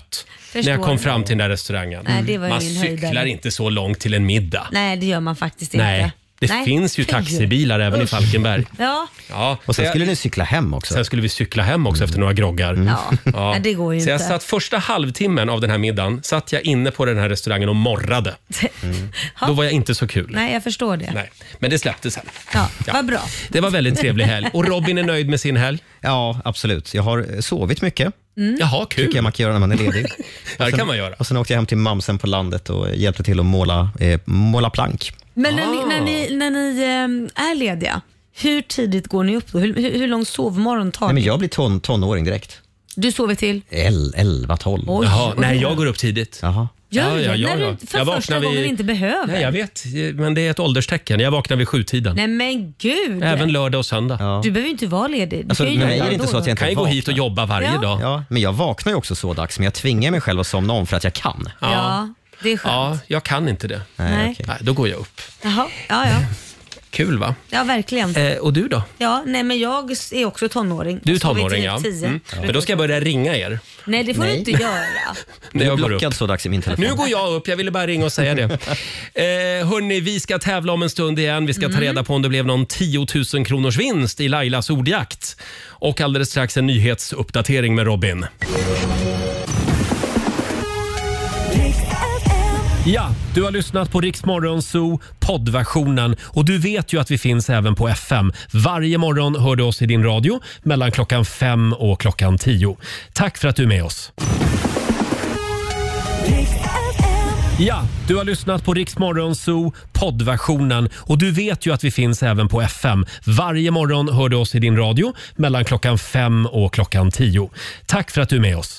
när jag
Förstår.
kom fram till den där restaurangen.
Nej, det var ju
Man
min
cyklar
höjdare.
inte så långt till en middag.
Nej, det gör man faktiskt inte.
Nej, det
(laughs)
finns ju
Fy.
taxibilar även i
Usch.
Falkenberg.
Ja,
Ja,
Och sen
så jag-
skulle ni cykla hem också.
Sen skulle vi cykla hem också efter några groggar.
Mm.
(laughs)
Ja. Nej, det går ju
så jag
inte.
satt första halvtimmen av den här middagen satt jag inne på den här restaurangen och morrade.
(laughs)
Då var jag inte så kul.
nej jag förstår det.
Mm. Nej. Men det släppte sen.
Ja, Vad bra.
Det var väldigt trevlig helg. Och Robin är nöjd med sin helg?
Ja, absolut. Jag har eh, sovit mycket.
Mm.
Jaha, kul.
tycker jag man kan göra när man är ledig. Och
(laughs) Ja, det
sen-
kan man göra.
Och sen åkte jag hem till mamsen på landet och hjälpte till att måla, eh, måla plank.
Men när ni, när ni,
Ah.
när ni ehm, är lediga, hur tidigt går ni upp då? Hur, hur, hur lång sovmorgon tar
Nej, men
ni?
jag blir ton, tonåring direkt.
Du sover till?
El- 11, 12.
Oj, Jaha, oj. nej, jag
går upp tidigt.
Jaha.
Gör du
Ja, ja,
det?
ja,
När
ja.
du för
Jag
första
vaknar
gången
vid-
inte behöver?
Nej, jag vet, men det är ett ålderstecken. Jag vaknar vid sjutiden.
Nej men gud!
Även lördag och söndag.
Du behöver ju inte vara ledig. Du
Alltså,
kan ju
men
göra
jag är
det
det inte
då
så
och
att
då.
jag inte
Kan ju gå
vaknar.
hit och jobba varje
Ja.
dag.
Ja, men jag vaknar ju också så dags, men jag tvingar mig själv att somna om för att jag kan.
Ja. det är skönt.
Ja, jag kan inte det.
Nej.
okej.
Nej, då går jag upp.
Jaha, ja, ja.
Kul va?
ja verkligen.
Eh, och du då?
Ja, nej men jag är också tonåring.
Du är
Jag står vid
tonåring ja.
typ tio.
Mm. Men då ska jag börja ringa er.
Nej det får
Nej.
du inte göra.
Du
När
är
jag går upp.
blockad så dags i min telefon.
Nu går jag upp, jag ville bara ringa och (laughs) säga det. Eh, hörni, vi ska tävla om en stund igen. Vi ska ta reda på om det blev någon 10 000 kronors vinst i Lailas ordjakt. Och alldeles strax en nyhetsuppdatering med Robin. Ja, du har lyssnat på Rix Morgon Zoo poddversionen och du vet ju att vi finns även på FM. Varje morgon hör du oss i din radio mellan klockan fem och klockan tio. Tack för att du är med oss. Ja, du har lyssnat på Rix Morgon Zoo poddversionen och du vet ju att vi finns även på FM. Varje morgon hör du oss i din radio mellan klockan fem och klockan tio. Tack för att du är med oss.